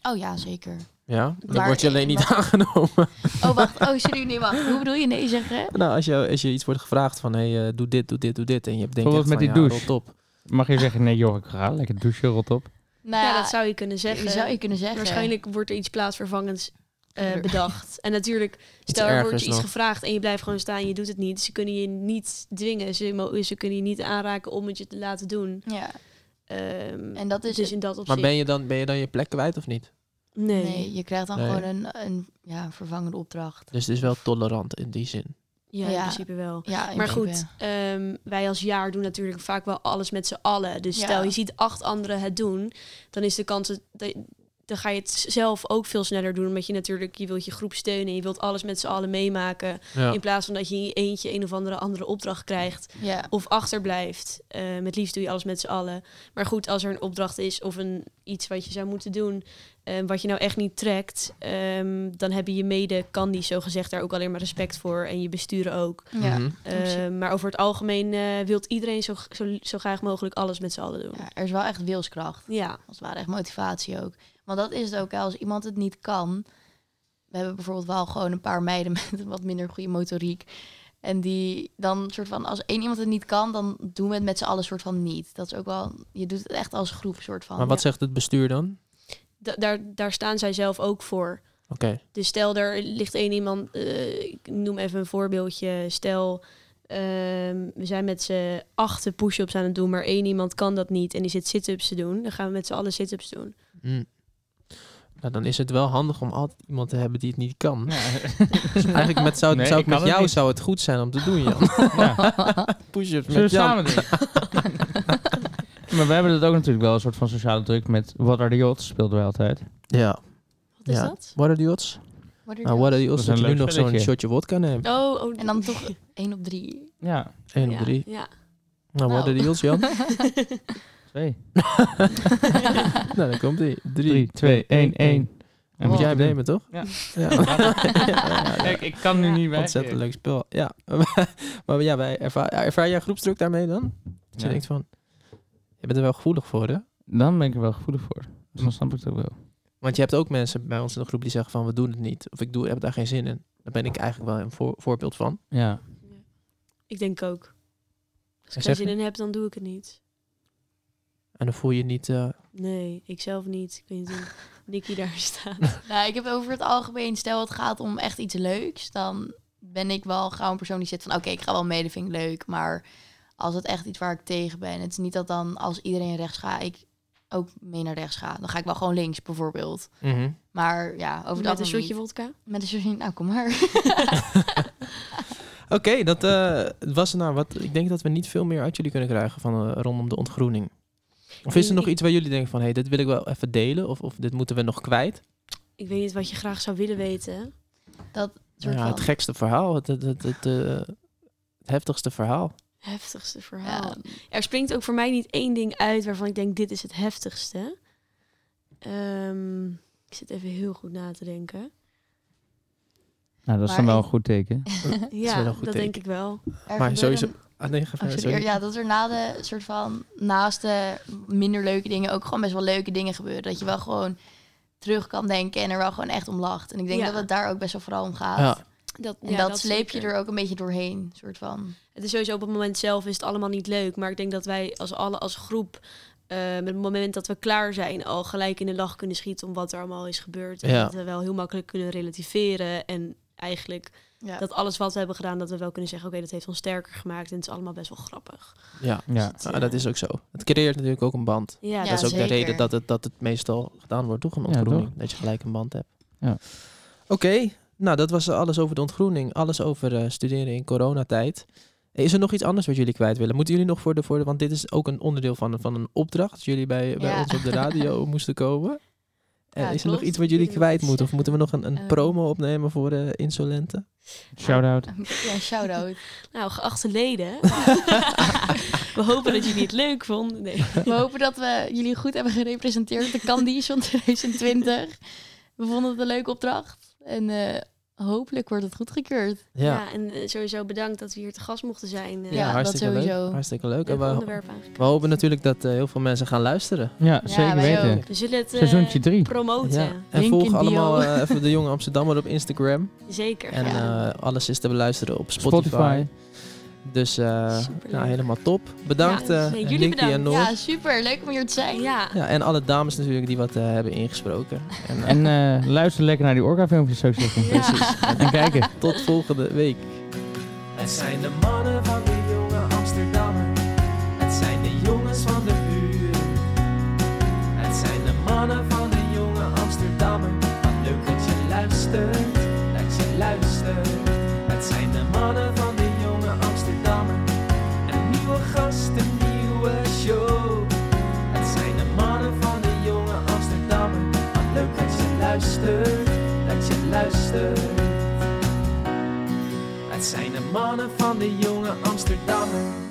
Speaker 3: Oh ja, zeker.
Speaker 1: Ja? Dan
Speaker 3: Maar-
Speaker 1: word je alleen niet
Speaker 3: maar-
Speaker 1: aangenomen.
Speaker 3: Oh, wacht. Oh, sorry, nee, wacht. Hoe bedoel je nee zeggen?
Speaker 1: Nou, als je, als je iets wordt gevraagd van, hé, hey, eh, doe dit, doe dit, doe dit. En je denkt echt
Speaker 2: Bijvoorbeeld
Speaker 1: van,
Speaker 2: met die
Speaker 1: ja,
Speaker 2: douche.
Speaker 1: rot op.
Speaker 2: Mag je zeggen, nee joh, ik ga lekker douchen, rot op.
Speaker 3: Nou,
Speaker 4: ja, dat zou je kunnen zeggen.
Speaker 3: zou je kunnen zeggen.
Speaker 4: Waarschijnlijk wordt er iets plaatsvervangends eh,
Speaker 3: Gebeurt.
Speaker 4: bedacht. En natuurlijk, stel er wordt
Speaker 1: ergers
Speaker 4: je
Speaker 1: nog.
Speaker 4: iets gevraagd en je blijft gewoon staan en je doet het niet. Ze kunnen je niet dwingen. Ze, mo- ze kunnen je niet aanraken om het je te laten doen.
Speaker 3: Ja,
Speaker 4: Ehm,
Speaker 3: en dat is
Speaker 4: dus
Speaker 3: het.
Speaker 4: in dat opzicht...
Speaker 1: Maar ben je, dan, ben je dan je plek kwijt of niet?
Speaker 4: Nee.
Speaker 3: Nee, je krijgt dan
Speaker 1: Nee.
Speaker 3: gewoon een, een ja, een vervangende opdracht.
Speaker 1: Dus het is wel tolerant in die zin.
Speaker 4: Ja, in
Speaker 3: Ja.
Speaker 4: principe wel.
Speaker 3: Ja, in
Speaker 4: Maar
Speaker 3: principe.
Speaker 4: goed, ehm, wij als jaar doen natuurlijk vaak wel alles met z'n allen. Dus
Speaker 3: Ja.
Speaker 4: stel je ziet acht anderen het doen, dan is de kans dat dat- dan ga je het zelf ook veel sneller doen. Omdat je natuurlijk, je wilt je groep steunen, je wilt alles met z'n allen meemaken.
Speaker 1: Ja.
Speaker 4: In plaats van dat je in je eentje een of andere andere opdracht krijgt
Speaker 3: Ja,
Speaker 4: of achterblijft. Eh met liefst doe je alles met z'n allen. Maar goed, als er een opdracht is of een, iets wat je zou moeten doen, eh, wat je nou echt niet trekt, ehm, dan hebben je mede, kan die zogezegd daar ook alleen maar respect voor. En je besturen ook.
Speaker 3: ja.
Speaker 1: Mhm.
Speaker 4: Eh,
Speaker 3: Precies.
Speaker 4: maar over het algemeen eh wilt iedereen zo, zo, zo graag mogelijk alles met z'n allen doen.
Speaker 3: ja, er is wel echt wilskracht.
Speaker 4: Ja,
Speaker 3: Als het ware echt motivatie ook. Want dat is het ook, hè, als iemand het niet kan. We hebben bijvoorbeeld wel gewoon een paar meiden met een wat minder goede motoriek. En die dan soort van, als één iemand het niet kan, dan doen we het met z'n allen soort van niet. Dat is ook wel, je doet het echt als groep soort van.
Speaker 1: Maar wat zegt het bestuur dan?
Speaker 4: da- daar, daar staan zij zelf ook voor.
Speaker 1: Oké.
Speaker 4: Dus stel, er ligt één iemand, eh, ik noem even een voorbeeldje. Stel, ehm, we zijn met z'n achten push-ups aan het doen, maar één iemand kan dat niet en die zit sit-ups te doen. Dan gaan we met z'n allen sit-ups doen.
Speaker 1: Hm. Nou, dan is het wel handig om altijd iemand te hebben die het niet kan. Dus eigenlijk met, zou,
Speaker 2: Nee,
Speaker 1: zou
Speaker 2: ik
Speaker 1: ik met
Speaker 2: kan het
Speaker 1: jou
Speaker 2: niet.
Speaker 1: zou het goed zijn om te doen, Jan.
Speaker 2: Ja.
Speaker 1: Push-ups
Speaker 2: Zullen we
Speaker 1: met Jan.
Speaker 2: samen doen? maar we hebben dat ook natuurlijk wel een soort van sociale druk met What Are The Odds speelden wij altijd.
Speaker 1: Ja.
Speaker 4: Wat is
Speaker 1: ja.
Speaker 4: dat?
Speaker 1: What are the odds?
Speaker 3: What are
Speaker 1: Nou,
Speaker 3: the
Speaker 1: what are the
Speaker 2: Dat
Speaker 1: odds
Speaker 2: is
Speaker 1: dat
Speaker 2: een
Speaker 1: je nu
Speaker 2: leuk
Speaker 1: nog zo'n
Speaker 2: spelletje.
Speaker 1: shotje vodka neemt?
Speaker 4: Oh, oh
Speaker 3: En dan toch één op drie.
Speaker 2: Ja,
Speaker 1: 1 op 3.
Speaker 4: Ja.
Speaker 1: Nou, what
Speaker 3: Nou.
Speaker 1: are the odds, Jan?
Speaker 2: twee.
Speaker 1: nou, dan komt ie. 3,
Speaker 2: Drie, twee, één, één.
Speaker 1: En moet
Speaker 2: Wow.
Speaker 1: jij nemen, toch?
Speaker 2: Oh. Ja.
Speaker 1: ja.
Speaker 2: Kijk, ik kan nu niet weg.
Speaker 1: Ontzettend leuk spel. Ja. maar ja, wij ervaar, ja, ervaar jij groepsdruk daarmee dan? Dat je
Speaker 2: Ja.
Speaker 1: denkt van, je bent er wel gevoelig voor, hè?
Speaker 2: Dan ben ik er wel gevoelig voor. Dus dan snap ik het ook wel.
Speaker 1: Want je hebt ook mensen bij ons in de groep die zeggen van, we doen het niet. Of ik doe, heb daar geen zin in. Daar ben ik eigenlijk wel een voor- voorbeeld van.
Speaker 2: Ja.
Speaker 4: ik denk ook. Als
Speaker 1: En zeg
Speaker 4: ik geen zin in heb, dan doe ik het niet.
Speaker 1: En dan voel je je niet... eh,
Speaker 4: Nee, ik zelf niet. Ik weet niet hoe Nicky daar staat.
Speaker 3: Nou, ik heb over het algemeen, stel het gaat om echt iets leuks, dan ben ik wel gauw een persoon die zit van, oké, ik ga wel mee, dat vind ik leuk, maar als het echt iets waar ik tegen ben, het is niet dat dan als iedereen rechts gaat, ik ook mee naar rechts ga. Dan ga ik wel gewoon links bijvoorbeeld.
Speaker 1: mhm.
Speaker 3: Maar ja, over het
Speaker 4: Met een
Speaker 3: algemeen
Speaker 4: shotje
Speaker 3: niet.
Speaker 4: vodka.
Speaker 3: Met een shotje, nou kom maar.
Speaker 1: Oké, dat eh, was het nou. Wat, ik denk dat we niet veel meer uit jullie kunnen krijgen van eh, rondom de ontgroening. Of is er nog iets waar jullie denken van, hé, hey, dit wil ik wel even delen? Of, of dit moeten we nog kwijt?
Speaker 4: Ik weet niet wat je graag zou willen weten.
Speaker 3: Dat
Speaker 1: Ja, het gekste verhaal, het, het, het, het, eh, het heftigste verhaal.
Speaker 4: heftigste verhaal. Er springt ook voor mij niet één ding uit waarvan ik denk, dit is het heftigste. Ehm, ik zit even heel goed na te denken.
Speaker 2: Nou, dat is dan
Speaker 3: Maar
Speaker 2: wel
Speaker 3: ik-
Speaker 2: een goed teken.
Speaker 3: Dat
Speaker 4: ja, dat denk ik wel.
Speaker 3: Er
Speaker 1: Maar
Speaker 3: gebeurde
Speaker 1: sowieso...
Speaker 3: een-
Speaker 1: Ah, nee, ga
Speaker 3: Oh,
Speaker 1: verder,
Speaker 3: sorry.
Speaker 1: sorry.
Speaker 3: Ja, dat er na de soort van naast de minder leuke dingen ook gewoon best wel leuke dingen gebeuren. Dat je wel gewoon terug kan denken en er wel gewoon echt om lacht. En ik denk
Speaker 4: Ja.
Speaker 3: dat het daar ook best wel vooral om gaat.
Speaker 1: Ja.
Speaker 4: Dat,
Speaker 3: En
Speaker 4: ja,
Speaker 3: dat, sleep
Speaker 4: zeker.
Speaker 3: je er ook een beetje doorheen, soort van.
Speaker 4: Het is sowieso op het moment zelf is het allemaal niet leuk. Maar ik denk dat wij als alle als groep eh, met het moment dat we klaar zijn al gelijk in de lach kunnen schieten om wat er allemaal is gebeurd. En
Speaker 1: Ja.
Speaker 4: dat we wel heel makkelijk kunnen relativeren. En eigenlijk
Speaker 3: Ja.
Speaker 4: dat alles wat we hebben gedaan, dat we wel kunnen zeggen, oké, dat heeft ons sterker gemaakt. En het is allemaal best wel grappig. Dus eh,
Speaker 1: Ja,
Speaker 2: Ja.
Speaker 1: ja. Ah, dat is ook zo. Het creëert natuurlijk ook een band.
Speaker 4: Ja,
Speaker 1: dat
Speaker 4: ja,
Speaker 1: is ook de
Speaker 3: zeker.
Speaker 1: reden dat het, dat het meestal gedaan wordt, toch? Een
Speaker 2: Ja,
Speaker 1: ontgroening. dat je gelijk een band hebt.
Speaker 2: Ja.
Speaker 1: Oké, nou dat was alles over de ontgroening. Alles over eh, studeren in coronatijd. Eh, Is er nog iets anders wat jullie kwijt willen? Moeten jullie nog voor de, voor de want dit is ook een onderdeel van, van een opdracht. dat Jullie bij, bij
Speaker 3: Ja.
Speaker 1: ons op de radio moesten komen. Eh,
Speaker 3: Ja,
Speaker 1: is er nog
Speaker 3: klopt.
Speaker 1: iets wat jullie
Speaker 4: Ik wil nog
Speaker 1: kwijt
Speaker 4: iets
Speaker 1: moeten? Of moeten we nog een, een
Speaker 3: Eh.
Speaker 1: promo opnemen voor eh insolente?
Speaker 2: Shout-out.
Speaker 3: Ja, shout-out.
Speaker 4: Nou, geachte leden. we hopen dat jullie het leuk vonden. Nee.
Speaker 3: We hopen dat we jullie goed hebben gerepresenteerd op de Candies van 2020. We vonden het een leuke opdracht. En eh, hopelijk wordt het goedgekeurd.
Speaker 1: Ja, ja,
Speaker 4: en eh, sowieso bedankt dat we hier te gast mochten zijn. eh,
Speaker 3: Ja, dat
Speaker 1: hartstikke leuk.
Speaker 3: sowieso.
Speaker 1: Hartstikke leuk. En
Speaker 4: leuk
Speaker 1: we,
Speaker 4: onderwerp eigenlijk.
Speaker 1: we hopen natuurlijk dat eh, heel veel mensen gaan luisteren.
Speaker 2: Ja,
Speaker 3: Ja,
Speaker 2: zeker
Speaker 3: wij
Speaker 2: weten.
Speaker 3: ook.
Speaker 4: We zullen het eh,
Speaker 2: Seizoentje drie.
Speaker 4: promoten.
Speaker 1: Ja. En
Speaker 3: Link in
Speaker 1: volg
Speaker 3: bio.
Speaker 1: allemaal eh, even de jonge Amsterdammer op Instagram.
Speaker 4: Zeker.
Speaker 1: En
Speaker 4: ja.
Speaker 1: eh, alles is te beluisteren op Spotify.
Speaker 2: Spotify.
Speaker 1: Dus eh,
Speaker 4: Superleuk.
Speaker 1: nou, helemaal top. Bedankt
Speaker 4: Ja,
Speaker 1: eh,
Speaker 4: nee, jullie
Speaker 1: Nikki en
Speaker 4: bedankt.
Speaker 1: Noor. Ja.
Speaker 3: Ja, super. Leuk om hier te zijn.
Speaker 4: ja.
Speaker 1: en alle dames natuurlijk die wat eh, hebben ingesproken. En, eh,
Speaker 2: En eh, luister lekker naar die orca-filmpjes, zou ik zeggen.
Speaker 1: precies.
Speaker 2: En kijken.
Speaker 1: Tot volgende week.
Speaker 12: Het zijn de mannen van de jonge Amsterdammer. Het zijn de jongens van de buren. Het zijn de mannen van de jonge Amsterdammer. Wat leuk dat je luistert, dat je luistert. Het zijn de mannen van de jonge Amsterdammer. Een nieuwe gast, een nieuwe show. Het zijn de mannen van de jonge Amsterdammer. Wat leuk dat je luistert, dat je luistert. Het zijn de mannen van de jonge Amsterdammer.